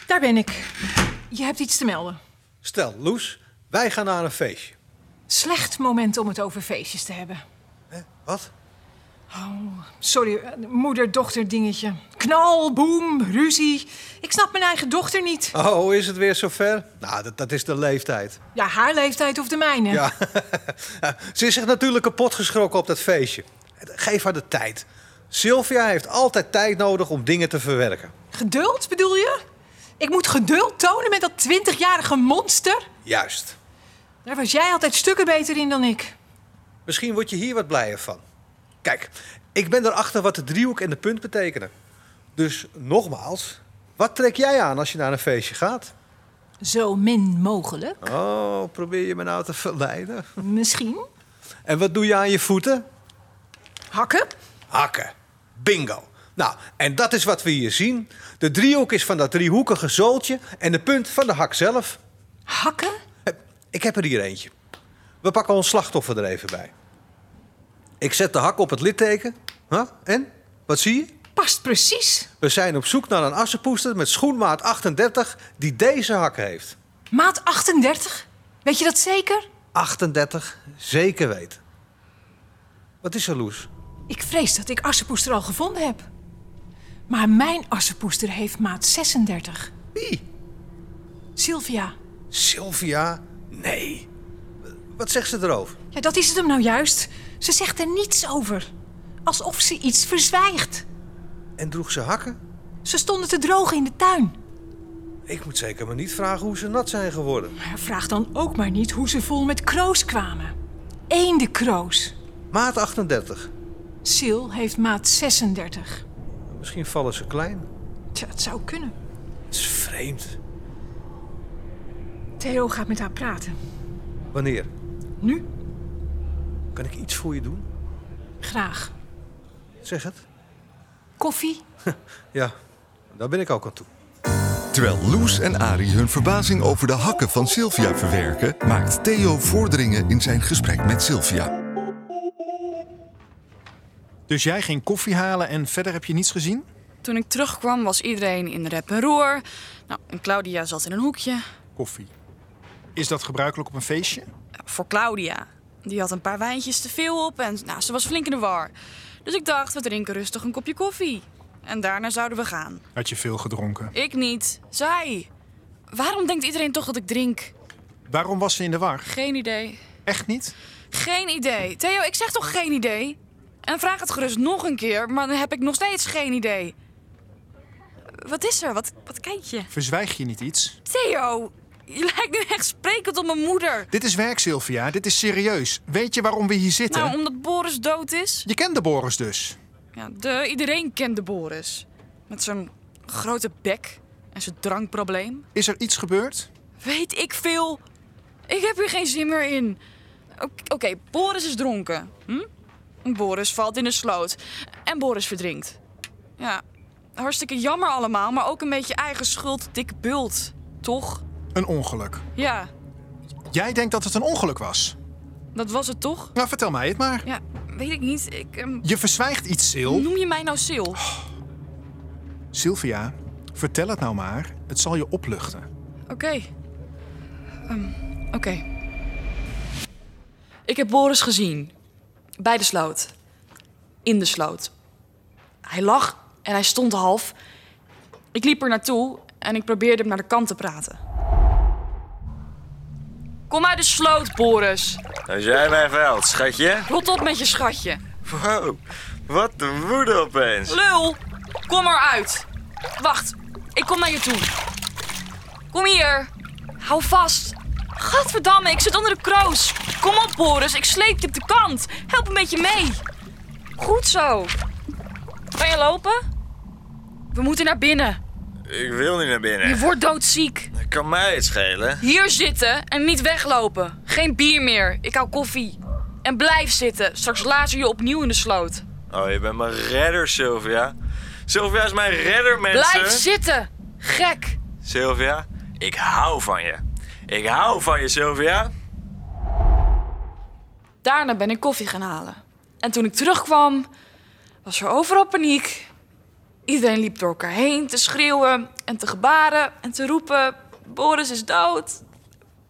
[SPEAKER 3] Daar ben ik. Je hebt iets te melden.
[SPEAKER 7] Stel, Loes, wij gaan naar een feestje.
[SPEAKER 3] Slecht moment om het over feestjes te hebben.
[SPEAKER 7] Wat?
[SPEAKER 3] Oh, sorry, eh, moeder-dochter dingetje. Knal, boem, ruzie. Ik snap mijn eigen dochter niet.
[SPEAKER 7] Oh, is het weer zover? Nou, dat, dat is de leeftijd.
[SPEAKER 3] Ja, haar leeftijd of de mijne.
[SPEAKER 7] Ja. [LAUGHS] Ze is zich natuurlijk kapot geschrokken op dat feestje. Geef haar de tijd. Sylvia heeft altijd tijd nodig om dingen te verwerken.
[SPEAKER 3] Geduld bedoel je? Ik moet geduld tonen met dat twintigjarige monster?
[SPEAKER 7] Juist.
[SPEAKER 3] Daar was jij altijd stukken beter in dan ik.
[SPEAKER 7] Misschien word je hier wat blijer van. Kijk, ik ben erachter wat de driehoek en de punt betekenen. Dus nogmaals, wat trek jij aan als je naar een feestje gaat?
[SPEAKER 3] Zo min mogelijk.
[SPEAKER 7] Oh, probeer je me nou te verleiden.
[SPEAKER 3] Misschien.
[SPEAKER 7] En wat doe je aan je voeten?
[SPEAKER 3] Hakken?
[SPEAKER 7] Hakken. Bingo. Nou, en dat is wat we hier zien. De driehoek is van dat driehoekige zooltje en de punt van de hak zelf. Eh,
[SPEAKER 3] Hakken?
[SPEAKER 7] Ik heb er hier eentje. We pakken ons slachtoffer er even bij. Ik zet de hak op het litteken. Huh? En? Wat zie je?
[SPEAKER 3] Past precies.
[SPEAKER 7] We zijn op zoek naar een assenpoester met schoenmaat 38 die deze hak heeft.
[SPEAKER 3] Maat 38? Weet je dat zeker?
[SPEAKER 7] 38, zeker weten. Wat is er, Loes?
[SPEAKER 3] Ik vrees dat ik assenpoester al gevonden heb. Maar mijn assenpoester heeft maat 36.
[SPEAKER 7] Wie?
[SPEAKER 3] Sylvia,
[SPEAKER 7] Sylvia? Nee. Wat zegt ze erover?
[SPEAKER 3] ja, dat is het hem nou juist. Ze zegt er niets over. Alsof ze iets verzwijgt.
[SPEAKER 7] En droeg ze hakken?
[SPEAKER 3] Ze stonden te drogen in de tuin.
[SPEAKER 7] Ik moet zeker maar niet vragen hoe ze nat zijn geworden.
[SPEAKER 3] Maar vraag dan ook maar niet hoe ze vol met kroos kwamen. Eendekroos.
[SPEAKER 7] Maat 38.
[SPEAKER 3] Sil heeft maat 36.
[SPEAKER 7] Misschien vallen ze klein.
[SPEAKER 3] Tja, het zou kunnen.
[SPEAKER 7] Het is vreemd.
[SPEAKER 3] Theo gaat met haar praten.
[SPEAKER 7] Wanneer?
[SPEAKER 3] Nu?
[SPEAKER 7] Kan ik iets voor je doen?
[SPEAKER 3] Graag.
[SPEAKER 7] Zeg het.
[SPEAKER 3] Koffie?
[SPEAKER 7] Ja, daar ben ik ook aan toe.
[SPEAKER 2] Terwijl Loes en Ari hun verbazing over de hakken van Sylvia verwerken, maakt Theo vorderingen in zijn gesprek met Sylvia.
[SPEAKER 4] Dus jij ging koffie halen en verder heb je niets gezien?
[SPEAKER 9] Toen ik terugkwam was iedereen in rep en roer. Nou, en Claudia zat in een hoekje.
[SPEAKER 4] Koffie. Is dat gebruikelijk op een feestje?
[SPEAKER 9] Voor Claudia. Die had een paar wijntjes te veel op en nou, ze was flink in de war. Dus ik dacht, we drinken rustig een kopje koffie. En daarna zouden we gaan.
[SPEAKER 4] Had je veel gedronken.
[SPEAKER 9] Ik niet. Zij. Waarom denkt iedereen toch dat ik drink?
[SPEAKER 4] Waarom was ze in de war?
[SPEAKER 9] Geen idee.
[SPEAKER 4] Echt niet?
[SPEAKER 9] Geen idee. Theo, ik zeg toch geen idee? En vraag het gerust nog een keer, maar dan heb ik nog steeds geen idee. Wat is er? Wat, wat kijk je?
[SPEAKER 4] Verzwijg je niet iets?
[SPEAKER 9] Theo, je lijkt nu echt sprekend op mijn moeder.
[SPEAKER 4] Dit is werk, Sylvia. Dit is serieus. Weet je waarom we hier zitten?
[SPEAKER 9] Nou, omdat Boris dood is.
[SPEAKER 4] Je kende Boris dus.
[SPEAKER 9] Ja, de, iedereen kende Boris. Met zijn grote bek en zijn drankprobleem.
[SPEAKER 4] Is er iets gebeurd?
[SPEAKER 9] Weet ik veel. Ik heb hier geen zin meer in. Oké, oké, Boris is dronken. Hm? Boris valt in de sloot. En Boris verdrinkt. Ja, hartstikke jammer allemaal, maar ook een beetje eigen schuld, dik bult. Toch?
[SPEAKER 4] Een ongeluk.
[SPEAKER 9] Ja,
[SPEAKER 4] Jij denkt dat het een ongeluk was.
[SPEAKER 9] dat was het toch?
[SPEAKER 4] Nou, vertel mij het maar.
[SPEAKER 9] Ja, weet ik niet. Ik, ehm,
[SPEAKER 4] Je verzwijgt iets, Sil.
[SPEAKER 9] noem je mij nou Sil?
[SPEAKER 4] Sylvia, vertel het nou maar. Het zal je opluchten.
[SPEAKER 9] Oké. Ehm, Oké. Ik heb Boris gezien. Bij de sloot. In de sloot. Hij lag en hij stond half. Ik liep er naartoe en ik probeerde hem naar de kant te praten. Kom uit de sloot, Boris.
[SPEAKER 11] Als jij mij vuilt, schatje.
[SPEAKER 9] Rot op met je schatje.
[SPEAKER 11] Wow, wat een woede opeens.
[SPEAKER 9] Lul, kom eruit. Wacht, ik kom naar je toe. Kom hier. Hou vast. Gadverdamme, ik zit onder de kroos. Kom op, Boris, ik sleep je op de kant. Help een beetje mee. Goed zo. Kan je lopen? We moeten naar binnen.
[SPEAKER 11] Ik wil niet naar binnen.
[SPEAKER 9] Je wordt doodziek.
[SPEAKER 11] Kan mij het schelen?
[SPEAKER 9] Hier zitten en niet weglopen. Geen bier meer. Ik hou koffie. En blijf zitten. Straks lazer je opnieuw in de sloot.
[SPEAKER 11] Oh, je bent mijn redder, Sylvia. Sylvia is mijn redder, mensen.
[SPEAKER 9] Blijf zitten. Gek.
[SPEAKER 11] Sylvia, ik hou van je. Ik hou van je, Sylvia.
[SPEAKER 9] Daarna ben ik koffie gaan halen. En toen ik terugkwam, was er overal paniek. Iedereen liep door elkaar heen te schreeuwen en te gebaren en te roepen: Boris is dood.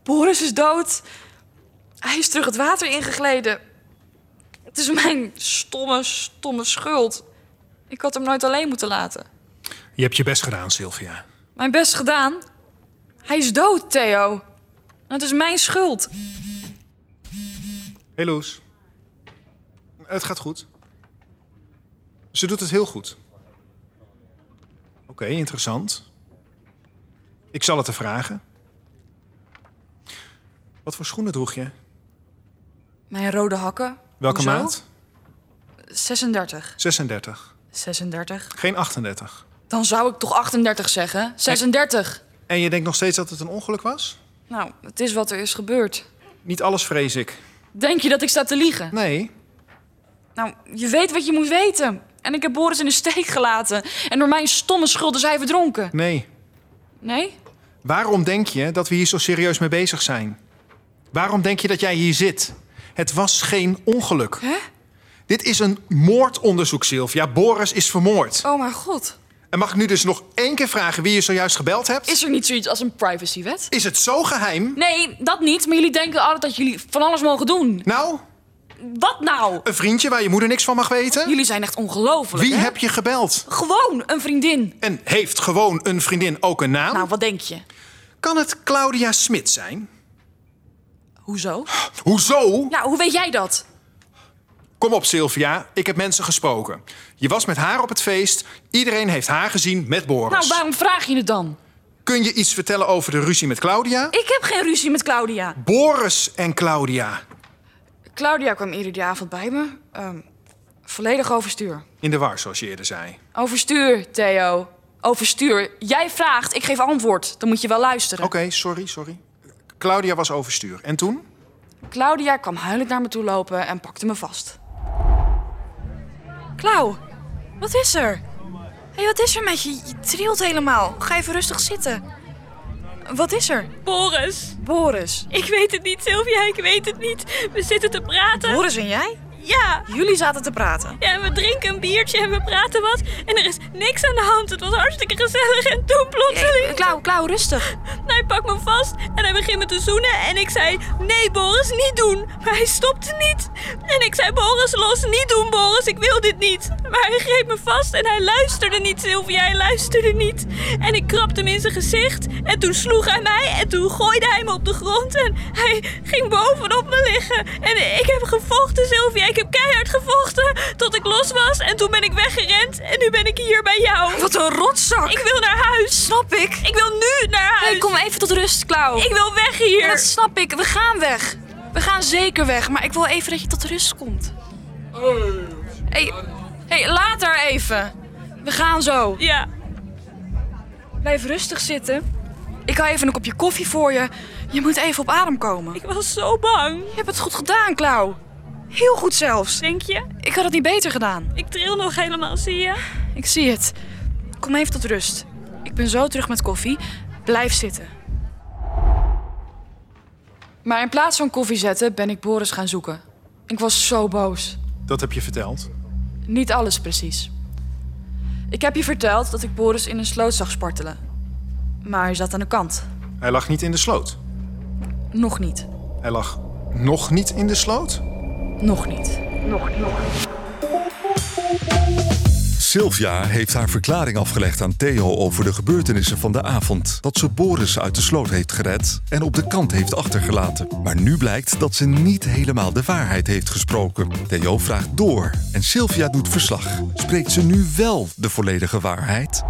[SPEAKER 9] Boris is dood. Hij is terug het water ingegleden. Het is mijn stomme, stomme schuld. Ik had hem nooit alleen moeten laten.
[SPEAKER 4] Je hebt je best gedaan, Sylvia.
[SPEAKER 9] Mijn best gedaan. Hij is dood, Theo. En Het is mijn schuld.
[SPEAKER 4] Hey Loes. Het gaat goed. Ze doet het heel goed. Oké, interessant. Ik zal het haar vragen. Wat voor schoenen droeg je?
[SPEAKER 9] Mijn rode hakken.
[SPEAKER 4] Welke
[SPEAKER 9] Hoezo?
[SPEAKER 4] maat?
[SPEAKER 9] 36.
[SPEAKER 4] 36.
[SPEAKER 9] 36.
[SPEAKER 4] Geen 38.
[SPEAKER 9] Dan zou ik toch 38 zeggen? 36.
[SPEAKER 4] En je denkt nog steeds dat het een ongeluk was?
[SPEAKER 9] Nou, het is wat er is gebeurd.
[SPEAKER 4] Niet alles vrees ik.
[SPEAKER 9] Denk je dat ik sta te liegen?
[SPEAKER 4] Nee.
[SPEAKER 9] Nou, je weet wat je moet weten. En ik heb Boris in de steek gelaten. En door mijn stomme schuld is hij verdronken.
[SPEAKER 4] Nee.
[SPEAKER 9] Nee?
[SPEAKER 4] Waarom denk je dat we hier zo serieus mee bezig zijn? Waarom denk je dat jij hier zit? Het was geen ongeluk.
[SPEAKER 9] Hè?
[SPEAKER 4] Dit is een moordonderzoek, Sylvia. Boris is vermoord.
[SPEAKER 9] Oh mijn god.
[SPEAKER 4] En mag ik nu dus nog één keer vragen wie je zojuist gebeld hebt?
[SPEAKER 9] Is er niet zoiets als een privacywet?
[SPEAKER 4] Is het zo geheim?
[SPEAKER 9] Nee, dat niet. Maar jullie denken altijd dat jullie van alles mogen doen.
[SPEAKER 4] Nou?
[SPEAKER 9] Wat nou?
[SPEAKER 4] Een vriendje waar je moeder niks van mag weten?
[SPEAKER 9] Jullie zijn echt ongelooflijk.
[SPEAKER 4] Wie
[SPEAKER 9] hè?
[SPEAKER 4] heb je gebeld?
[SPEAKER 9] Gewoon een vriendin.
[SPEAKER 4] En heeft gewoon een vriendin ook een naam?
[SPEAKER 9] Nou, wat denk je?
[SPEAKER 4] Kan het Claudia Smit zijn?
[SPEAKER 9] Hoezo?
[SPEAKER 4] Hoezo?
[SPEAKER 9] Nou, hoe weet jij dat?
[SPEAKER 4] Kom op, Sylvia. Ik heb mensen gesproken. Je was met haar op het feest. Iedereen heeft haar gezien met Boris.
[SPEAKER 9] Nou, waarom vraag je het dan?
[SPEAKER 4] Kun je iets vertellen over de ruzie met Claudia?
[SPEAKER 9] Ik heb geen ruzie met Claudia.
[SPEAKER 4] Boris en Claudia.
[SPEAKER 9] Claudia kwam eerder die avond bij me. Ehm, volledig overstuur.
[SPEAKER 4] In de war, zoals je eerder zei.
[SPEAKER 9] Overstuur, Theo. Overstuur. Jij vraagt, ik geef antwoord. Dan moet je wel luisteren.
[SPEAKER 4] Oké, sorry, sorry. Claudia was overstuur. En toen?
[SPEAKER 9] Claudia kwam huilend naar me toe lopen en pakte me vast. Klauw, wat is er? Hé, wat is er met je? Je trilt helemaal. Ga even rustig zitten. Wat is er?
[SPEAKER 3] Boris,
[SPEAKER 9] Boris.
[SPEAKER 3] ik weet het niet, Sylvia, ik weet het niet. We zitten te praten.
[SPEAKER 9] Boris en jij?
[SPEAKER 3] Ja.
[SPEAKER 9] Jullie zaten te praten.
[SPEAKER 3] Ja, en we drinken een biertje en we praten wat. En er is niks aan de hand. Het was hartstikke gezellig. En toen plotseling...
[SPEAKER 9] Klauw, Klauw, rustig.
[SPEAKER 3] Hij pakt me vast en hij begint me te zoenen. En ik zei, nee Boris, niet doen. Maar hij stopte niet. En ik zei, Boris, los, niet doen Boris, ik wil dit niet. Maar hij greep me vast en hij luisterde niet, Sylvia, hij luisterde niet. En ik krabde hem in zijn gezicht. En toen sloeg hij mij en toen gooide hij me op de grond. En hij ging bovenop me liggen. En ik heb gevochten, Sylvia, ik heb keihard gevochten. Tot ik los was en toen ben ik weggerend. En nu ben ik hier bij jou.
[SPEAKER 9] Wat een rotzak.
[SPEAKER 3] Ik wil naar huis.
[SPEAKER 9] Snap ik.
[SPEAKER 3] Ik wil nu naar huis.
[SPEAKER 9] Hey, kom even tot rust, Klauw.
[SPEAKER 3] Ik wil weg hier.
[SPEAKER 9] Ja, dat snap ik. We gaan weg. We gaan zeker weg. Maar ik wil even dat je tot rust komt. hey, hey, later even. We gaan zo.
[SPEAKER 3] Ja.
[SPEAKER 9] Blijf rustig zitten. Ik hou even een kopje koffie voor je. Je moet even op adem komen. Ik
[SPEAKER 12] was zo bang.
[SPEAKER 9] Je hebt het goed gedaan, Klauw. Heel goed zelfs.
[SPEAKER 12] Denk je?
[SPEAKER 9] Ik had het niet beter gedaan.
[SPEAKER 12] Ik tril nog helemaal, zie je?
[SPEAKER 9] Ik zie het. Kom even tot rust. Ik ben zo terug met koffie. Blijf zitten. Maar in plaats van koffie zetten ben ik Boris gaan zoeken. Ik was zo boos.
[SPEAKER 4] Dat heb je verteld.
[SPEAKER 9] Niet alles precies. Ik heb je verteld dat ik Boris in een sloot zag spartelen. Maar hij zat aan de kant.
[SPEAKER 4] Hij lag niet in de sloot.
[SPEAKER 9] Nog niet.
[SPEAKER 4] Hij lag nog niet in de sloot?
[SPEAKER 9] Nog niet. Nog, nog.
[SPEAKER 2] Sylvia heeft haar verklaring afgelegd aan Theo over de gebeurtenissen van de avond. Dat ze Boris uit de sloot heeft gered en op de kant heeft achtergelaten. Maar nu blijkt dat ze niet helemaal de waarheid heeft gesproken. Theo vraagt door en Sylvia doet verslag. Spreekt ze nu wel de volledige waarheid?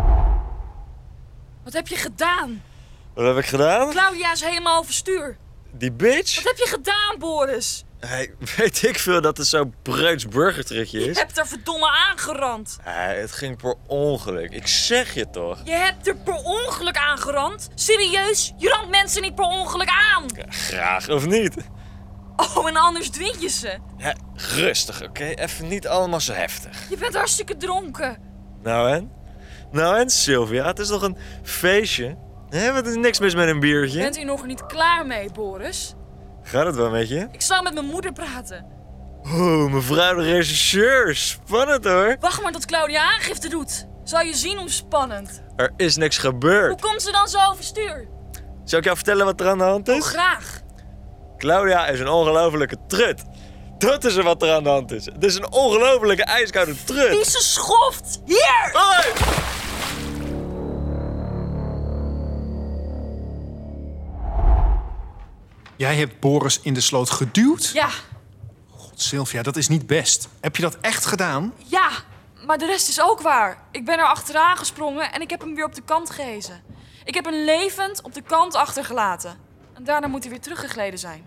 [SPEAKER 9] Wat heb je gedaan?
[SPEAKER 13] Wat heb ik gedaan?
[SPEAKER 9] Claudia is helemaal overstuur.
[SPEAKER 13] Die bitch?
[SPEAKER 9] Wat heb je gedaan, Boris?
[SPEAKER 13] Hij [LAUGHS] weet ik veel dat het zo'n breuts burgertrucje
[SPEAKER 9] Je
[SPEAKER 13] is.
[SPEAKER 9] hebt er verdomme aangerand.
[SPEAKER 13] Hij, het ging per ongeluk. Ik zeg je toch?
[SPEAKER 9] Je hebt er per ongeluk aangerand. Serieus, je randt mensen niet per ongeluk aan.
[SPEAKER 13] Graag of niet?
[SPEAKER 9] Oh, en anders dwing je ze.
[SPEAKER 13] Ja, rustig, oké? Even niet allemaal zo heftig.
[SPEAKER 9] Je bent hartstikke dronken.
[SPEAKER 13] Nou en? Nou en, Sylvia? Het is toch een feestje? Hè, wat is niks mis met een biertje?
[SPEAKER 9] Bent u nog niet klaar mee, Boris?
[SPEAKER 13] Gaat het wel met je?
[SPEAKER 9] Ik zal met mijn moeder praten.
[SPEAKER 13] Oeh, mevrouw de regisseur. Spannend hoor.
[SPEAKER 9] Wacht maar tot Claudia aangifte doet. Zal je zien hoe spannend.
[SPEAKER 13] Er is niks
[SPEAKER 9] Hoe
[SPEAKER 13] gebeurd.
[SPEAKER 9] komt ze dan zo overstuur? Oh,
[SPEAKER 13] Zal ik jou vertellen wat er aan de hand is?
[SPEAKER 9] Graag.
[SPEAKER 13] Claudia is een ongelofelijke trut. Dat is er wat er aan de hand is. Het is een ongelofelijke ijskoude trut.
[SPEAKER 9] Die ze schoft. Hier!
[SPEAKER 4] Jij hebt Boris in de sloot geduwd?
[SPEAKER 9] Ja,
[SPEAKER 4] God, Sylvia, dat is niet best. Heb je dat echt gedaan?
[SPEAKER 9] ja. Maar de rest is ook waar. Ik ben er achteraan gesprongen en ik heb hem weer op de kant gehezen. Ik heb hem levend op de kant achtergelaten. En daarna moet hij weer teruggegleden zijn.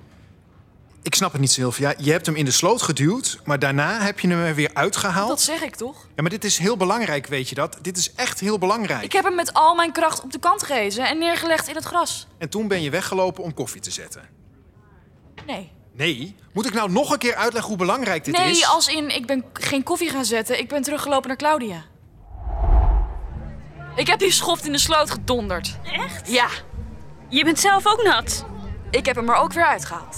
[SPEAKER 4] Ik snap het niet, Sylvia. Je hebt hem in de sloot geduwd, maar daarna heb je hem er weer uitgehaald.
[SPEAKER 9] Dat zeg ik toch?
[SPEAKER 4] Ja, maar dit is heel belangrijk, weet je dat? Dit is echt heel belangrijk.
[SPEAKER 9] Ik heb hem met al mijn kracht op de kant gehezen en neergelegd in het gras.
[SPEAKER 4] En toen ben je weggelopen om koffie te zetten.
[SPEAKER 9] Nee.
[SPEAKER 4] Nee, moet ik nou nog een keer uitleggen hoe belangrijk dit
[SPEAKER 9] nee,
[SPEAKER 4] is?
[SPEAKER 9] als in ik ben k- geen koffie gaan zetten. Ik ben teruggelopen naar Claudia. Ik heb die schoft in de sloot gedonderd.
[SPEAKER 12] Echt?
[SPEAKER 9] Ja,
[SPEAKER 12] Je bent zelf ook nat.
[SPEAKER 9] ik heb hem er ook weer uitgehaald.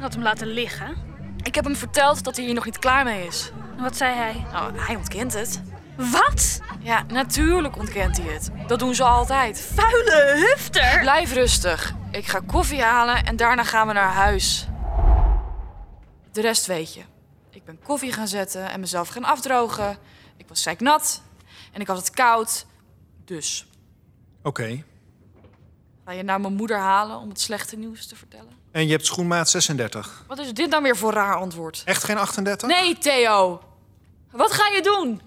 [SPEAKER 12] Had hem laten liggen.
[SPEAKER 9] Ik heb hem verteld dat hij hier nog niet klaar mee is.
[SPEAKER 12] En wat zei hij?
[SPEAKER 9] Nou, hij ontkent het.
[SPEAKER 12] Wat?
[SPEAKER 9] Ja, natuurlijk ontkent hij het. Dat doen ze altijd.
[SPEAKER 12] Vuile hufter!
[SPEAKER 9] Blijf rustig. Ik ga koffie halen en daarna gaan we naar huis. De rest weet je. Ik ben koffie gaan zetten en mezelf gaan afdrogen. Ik was zeiknat en ik had het koud. Dus,
[SPEAKER 4] Oké,
[SPEAKER 9] ga je nou mijn moeder halen om het slechte nieuws te vertellen?
[SPEAKER 4] en je hebt schoenmaat 36.
[SPEAKER 9] Wat is dit dan weer voor raar antwoord?
[SPEAKER 4] Echt geen 38?
[SPEAKER 9] Nee, Theo. Wat ga je doen?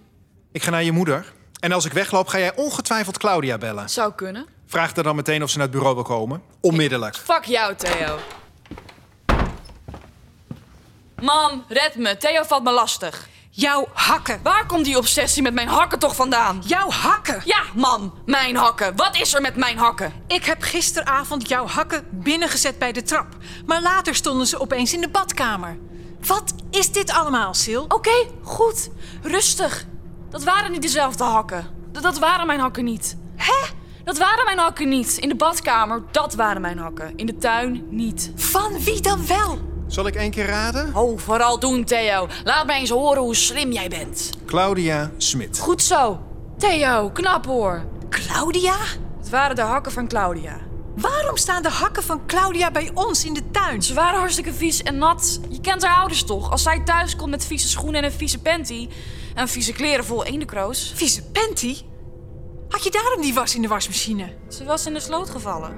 [SPEAKER 4] Ik ga naar je moeder. En als ik wegloop, ga jij ongetwijfeld Claudia bellen.
[SPEAKER 9] Zou kunnen.
[SPEAKER 4] Vraag haar dan meteen of ze naar het bureau wil komen. Onmiddellijk.
[SPEAKER 9] Fuck jou, Theo. Mam, red me. Theo valt me lastig.
[SPEAKER 10] Jouw hakken.
[SPEAKER 9] Waar komt die obsessie met mijn hakken toch vandaan?
[SPEAKER 10] Jouw hakken.
[SPEAKER 9] Ja, mam, mijn hakken. Wat is er met mijn hakken?
[SPEAKER 10] Ik heb gisteravond jouw hakken binnengezet bij de trap. Maar later stonden ze opeens in de badkamer. Wat is dit allemaal, Sil?
[SPEAKER 9] Oké, goed. Rustig. Dat waren niet dezelfde hakken. D- dat waren mijn hakken niet. Hè? Dat waren mijn hakken niet. In de badkamer, dat waren mijn hakken. In de tuin, niet.
[SPEAKER 10] Van wie dan wel?
[SPEAKER 4] Zal ik één keer raden?
[SPEAKER 9] Oh, vooral doen, Theo. Laat mij eens horen hoe slim jij bent.
[SPEAKER 4] Claudia Smit.
[SPEAKER 9] Goed zo. Theo, knap hoor.
[SPEAKER 10] Claudia?
[SPEAKER 9] Het waren de hakken van Claudia.
[SPEAKER 10] Waarom staan de hakken van Claudia bij ons in de tuin?
[SPEAKER 9] Ze waren hartstikke vies en nat. Je kent haar ouders toch? Als zij thuis komt met vieze schoenen en een vieze panty... en vieze kleren vol eendekroos...
[SPEAKER 10] Vieze panty? Had je daarom die was in de wasmachine?
[SPEAKER 9] Ze was in de sloot gevallen.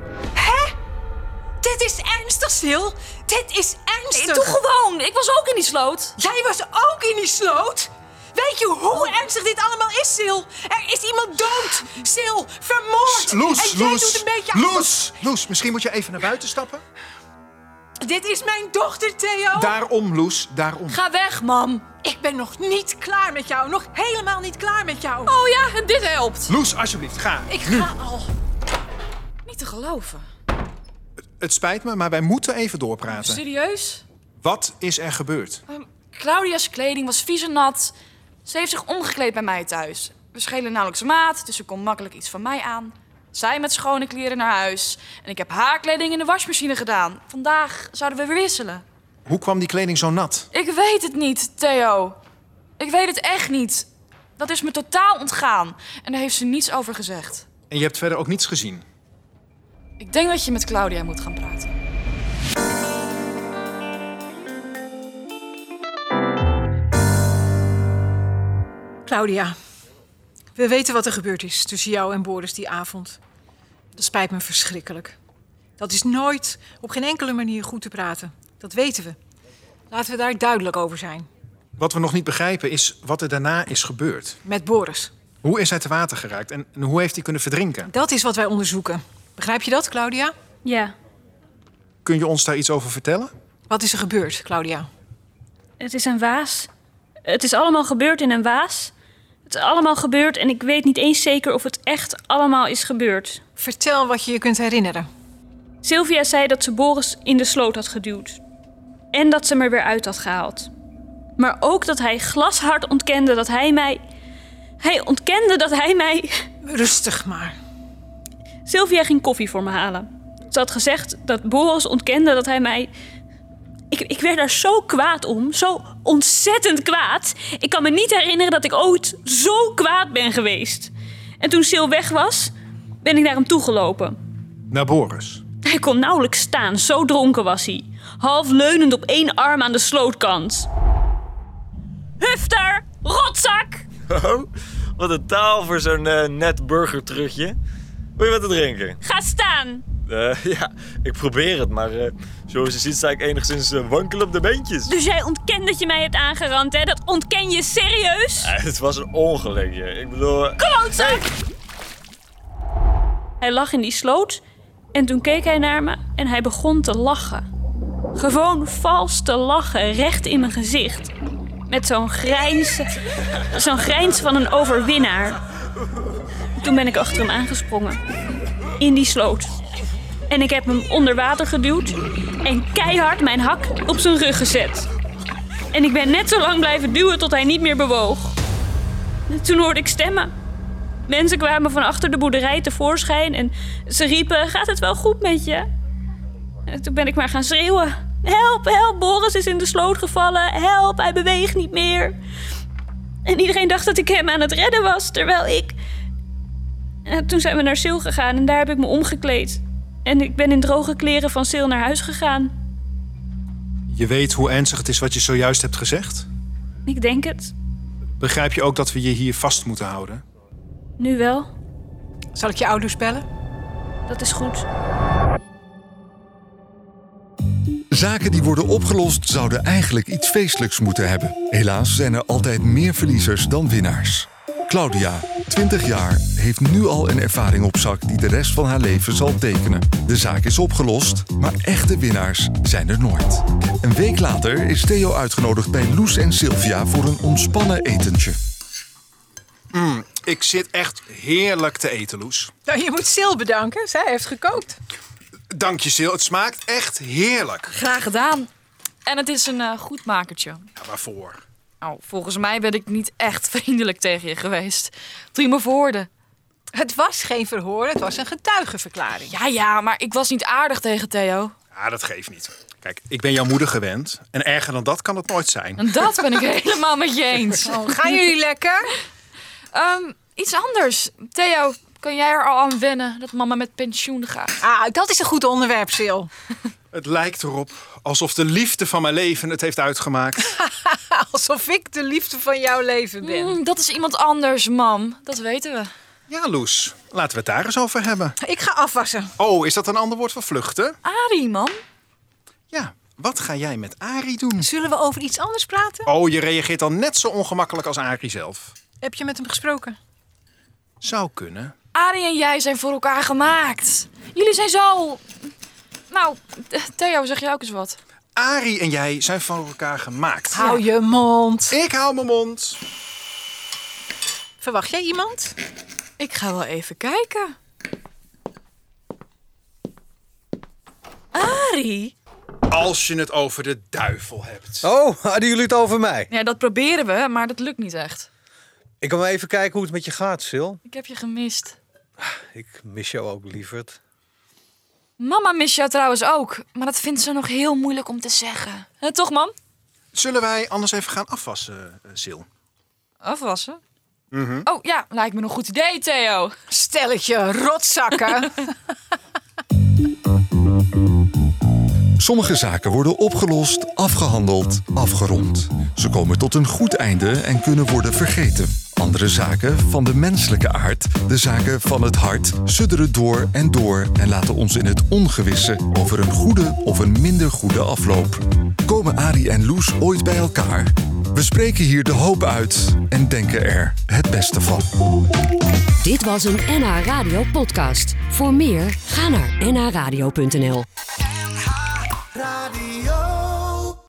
[SPEAKER 10] Dit is ernstig, Sil. Dit is ernstig.
[SPEAKER 9] Doe gewoon! Ik was ook in die sloot.
[SPEAKER 10] Jij was ook in die sloot? Weet je hoe
[SPEAKER 9] Oh.
[SPEAKER 10] ernstig dit allemaal is, Sil? Er is iemand dood. Sil, vermoord.
[SPEAKER 4] Loes,
[SPEAKER 10] en jij
[SPEAKER 4] Loes,
[SPEAKER 10] doet een beetje... Oh.
[SPEAKER 4] Loes, Loes, misschien moet je even naar buiten stappen?
[SPEAKER 10] Dit is mijn dochter, Theo.
[SPEAKER 4] Daarom, Loes, daarom.
[SPEAKER 9] Ga weg, mam.
[SPEAKER 10] Ik ben nog niet klaar met jou. Nog helemaal niet klaar met jou.
[SPEAKER 9] Oh ja, en dit helpt.
[SPEAKER 4] Loes, alsjeblieft, ga.
[SPEAKER 10] Ik ga al.
[SPEAKER 9] Niet te geloven.
[SPEAKER 4] Het spijt me, maar wij moeten even doorpraten.
[SPEAKER 9] Serieus?
[SPEAKER 4] Wat is er gebeurd?
[SPEAKER 9] Ehm, Claudia's kleding was vies en nat. Ze heeft zich omgekleed bij mij thuis. We schelen nauwelijks maat, dus ze kon makkelijk iets van mij aan. Zij met schone kleren naar huis. En ik heb haar kleding in de wasmachine gedaan. Vandaag zouden we weer wisselen.
[SPEAKER 4] Hoe kwam die kleding zo nat?
[SPEAKER 9] Ik weet het niet, Theo. Ik weet het echt niet. Dat is me totaal ontgaan. En daar heeft ze niets over gezegd.
[SPEAKER 4] En je hebt verder ook niets gezien.
[SPEAKER 9] Ik denk dat je met Claudia moet gaan praten.
[SPEAKER 3] Claudia, we weten wat er gebeurd is tussen jou en Boris die avond. Dat spijt me verschrikkelijk. Dat is nooit op geen enkele manier goed te praten. Dat weten we. Laten we daar duidelijk over zijn.
[SPEAKER 4] Wat we nog niet begrijpen is wat er daarna is gebeurd.
[SPEAKER 3] Met Boris.
[SPEAKER 4] Hoe is hij te water geraakt en en hoe heeft hij kunnen verdrinken?
[SPEAKER 3] Dat is wat wij onderzoeken. Begrijp je dat, Claudia?
[SPEAKER 14] Ja.
[SPEAKER 4] Kun je ons daar iets over vertellen?
[SPEAKER 3] Wat is er gebeurd, Claudia?
[SPEAKER 12] Het is een waas. Het is allemaal gebeurd in een waas. Het is allemaal gebeurd en ik weet niet eens zeker of het echt allemaal is gebeurd.
[SPEAKER 3] Vertel wat je je kunt herinneren.
[SPEAKER 12] Sylvia zei dat ze Boris in de sloot had geduwd. En dat ze me er weer uit had gehaald. Maar ook dat hij glashard ontkende dat hij mij. Hij ontkende dat hij mij. [LAUGHS]
[SPEAKER 3] Rustig maar.
[SPEAKER 12] Sylvia ging koffie voor me halen. Ze had gezegd dat Boris ontkende dat hij mij. Ik, ik werd daar zo kwaad om, zo ontzettend kwaad. Ik kan me niet herinneren dat ik ooit zo kwaad ben geweest. En toen Sil weg was, ben ik naar hem toegelopen.
[SPEAKER 4] Naar Boris.
[SPEAKER 12] Hij kon nauwelijks staan, zo dronken was hij. Half leunend op één arm aan de slootkant. Hufter, rotzak!
[SPEAKER 5] Wat een taal voor zo'n eh, net burgertrutje. Wil je wat te drinken?
[SPEAKER 12] Ga staan!
[SPEAKER 5] Eh, ja, ik probeer het, maar eh, zoals je ziet sta ik enigszins eh, wankel op de beentjes.
[SPEAKER 12] Dus jij ontkent dat je mij hebt aangerand, hè? Dat ontken je serieus?
[SPEAKER 5] Eh, het was een ongelukje. Ik bedoel... eh,
[SPEAKER 12] Klootzak! Hij lag in die sloot en toen keek hij naar me en hij begon te lachen. Gewoon vals te lachen, recht in mijn gezicht. Met zo'n grijns, zo'n grijns van een overwinnaar. Toen ben ik achter hem aangesprongen. In die sloot. En ik heb hem onder water geduwd en keihard mijn hak op zijn rug gezet. En ik ben net zo lang blijven duwen tot hij niet meer bewoog. Toen hoorde ik stemmen. Mensen kwamen van achter de boerderij tevoorschijn en ze riepen: Gaat het wel goed met je? En toen ben ik maar gaan schreeuwen: Help, help, Boris is in de sloot gevallen. Help, hij beweegt niet meer. En iedereen dacht dat ik hem aan het redden was, terwijl ik. En toen zijn we naar Sil gegaan en daar heb ik me omgekleed. En ik ben in droge kleren van Sil naar huis gegaan.
[SPEAKER 4] Je weet hoe ernstig het is wat je zojuist hebt gezegd?
[SPEAKER 12] Ik denk het.
[SPEAKER 4] Begrijp je ook dat we je hier vast moeten houden?
[SPEAKER 12] Nu wel.
[SPEAKER 3] Zal ik je ouders bellen?
[SPEAKER 12] Dat is goed.
[SPEAKER 2] Zaken die worden opgelost zouden eigenlijk iets feestelijks moeten hebben. Helaas zijn er altijd meer verliezers dan winnaars. Claudia, 20 jaar, heeft nu al een ervaring op zak die de rest van haar leven zal tekenen. De zaak is opgelost, maar echte winnaars zijn er nooit. Een week later is Theo uitgenodigd bij Loes en Sylvia voor een ontspannen etentje.
[SPEAKER 4] Mm, ik zit echt heerlijk te eten, Loes.
[SPEAKER 3] Nou, je moet Sil bedanken. Zij heeft gekookt.
[SPEAKER 4] Dank je, Sil. Het smaakt echt heerlijk.
[SPEAKER 9] Graag gedaan. En het is een eh, goed makertje.
[SPEAKER 4] Ja, waarvoor?
[SPEAKER 9] Nou, volgens mij ben ik niet echt [LAUGHS] vriendelijk tegen je geweest. Toen je me verhoorde.
[SPEAKER 3] Het was geen verhoor, het was een getuigenverklaring.
[SPEAKER 9] Ja, ja, maar ik was niet aardig tegen Theo.
[SPEAKER 4] Ja, Ah, dat geeft niet. Kijk, ik ben jouw moeder gewend. En erger dan dat kan het nooit zijn.
[SPEAKER 9] En dat [LAUGHS] ben ik helemaal met je eens.
[SPEAKER 3] Oh, gaan jullie lekker?
[SPEAKER 9] Ehm, iets anders. Theo, kan jij er al aan wennen dat mama met pensioen gaat?
[SPEAKER 3] Ah, dat is een goed onderwerp, Sil.
[SPEAKER 4] Het lijkt erop alsof de liefde van mijn leven het heeft uitgemaakt.
[SPEAKER 3] [LAUGHS] Alsof ik de liefde van jouw leven ben.
[SPEAKER 9] Mm, dat is iemand anders, mam. Dat weten we.
[SPEAKER 4] Ja, Loes. Laten we het daar eens over hebben.
[SPEAKER 3] Ik ga afwassen.
[SPEAKER 4] Oh, is dat een ander woord voor vluchten?
[SPEAKER 9] Arie, mam.
[SPEAKER 4] Ja. Wat ga jij met Ari doen?
[SPEAKER 3] Zullen we over iets anders praten?
[SPEAKER 4] Oh, je reageert al net zo ongemakkelijk als Ari zelf.
[SPEAKER 3] Heb je met hem gesproken?
[SPEAKER 4] Zou kunnen.
[SPEAKER 9] Arie en jij zijn voor elkaar gemaakt. Jullie zijn zo... Nou, Theo, zeg jij ook eens wat?
[SPEAKER 4] Ari en jij zijn van elkaar gemaakt.
[SPEAKER 3] Hou je mond.
[SPEAKER 4] Ik hou mijn mond.
[SPEAKER 3] Verwacht jij iemand?
[SPEAKER 9] Ik ga wel even kijken. Ah,
[SPEAKER 12] Harry?
[SPEAKER 4] Als je het over de duivel hebt.
[SPEAKER 7] Oh, [LAUGHS] hadden jullie het over mij?
[SPEAKER 9] Ja, dat proberen we, maar dat lukt niet echt.
[SPEAKER 7] Ik kan wel even kijken hoe het met je gaat, Sil.
[SPEAKER 9] Ik heb je gemist.
[SPEAKER 7] Ik mis jou ook, lieverd.
[SPEAKER 9] Mama mist jou trouwens ook, maar dat vindt ze nog heel moeilijk om te zeggen. Hè, toch, mam?
[SPEAKER 4] Zullen wij anders even gaan afwassen, eh, Sil?
[SPEAKER 9] Afwassen? Oh ja, lijkt me een goed idee, Theo.
[SPEAKER 10] Stelletje rotzakken.
[SPEAKER 2] Sommige zaken worden opgelost, afgehandeld, afgerond. Ze komen tot een goed einde en kunnen worden vergeten. Andere zaken van de menselijke aard, de zaken van het hart, sudderen door en door en laten ons in het ongewisse over een goede of een minder goede afloop. Komen Ari en Loes ooit bij elkaar? We spreken hier de hoop uit en denken er het beste van.
[SPEAKER 1] Dit was een NH Radio podcast. Voor meer, ga naar nhradio.nl.
[SPEAKER 15] Radio.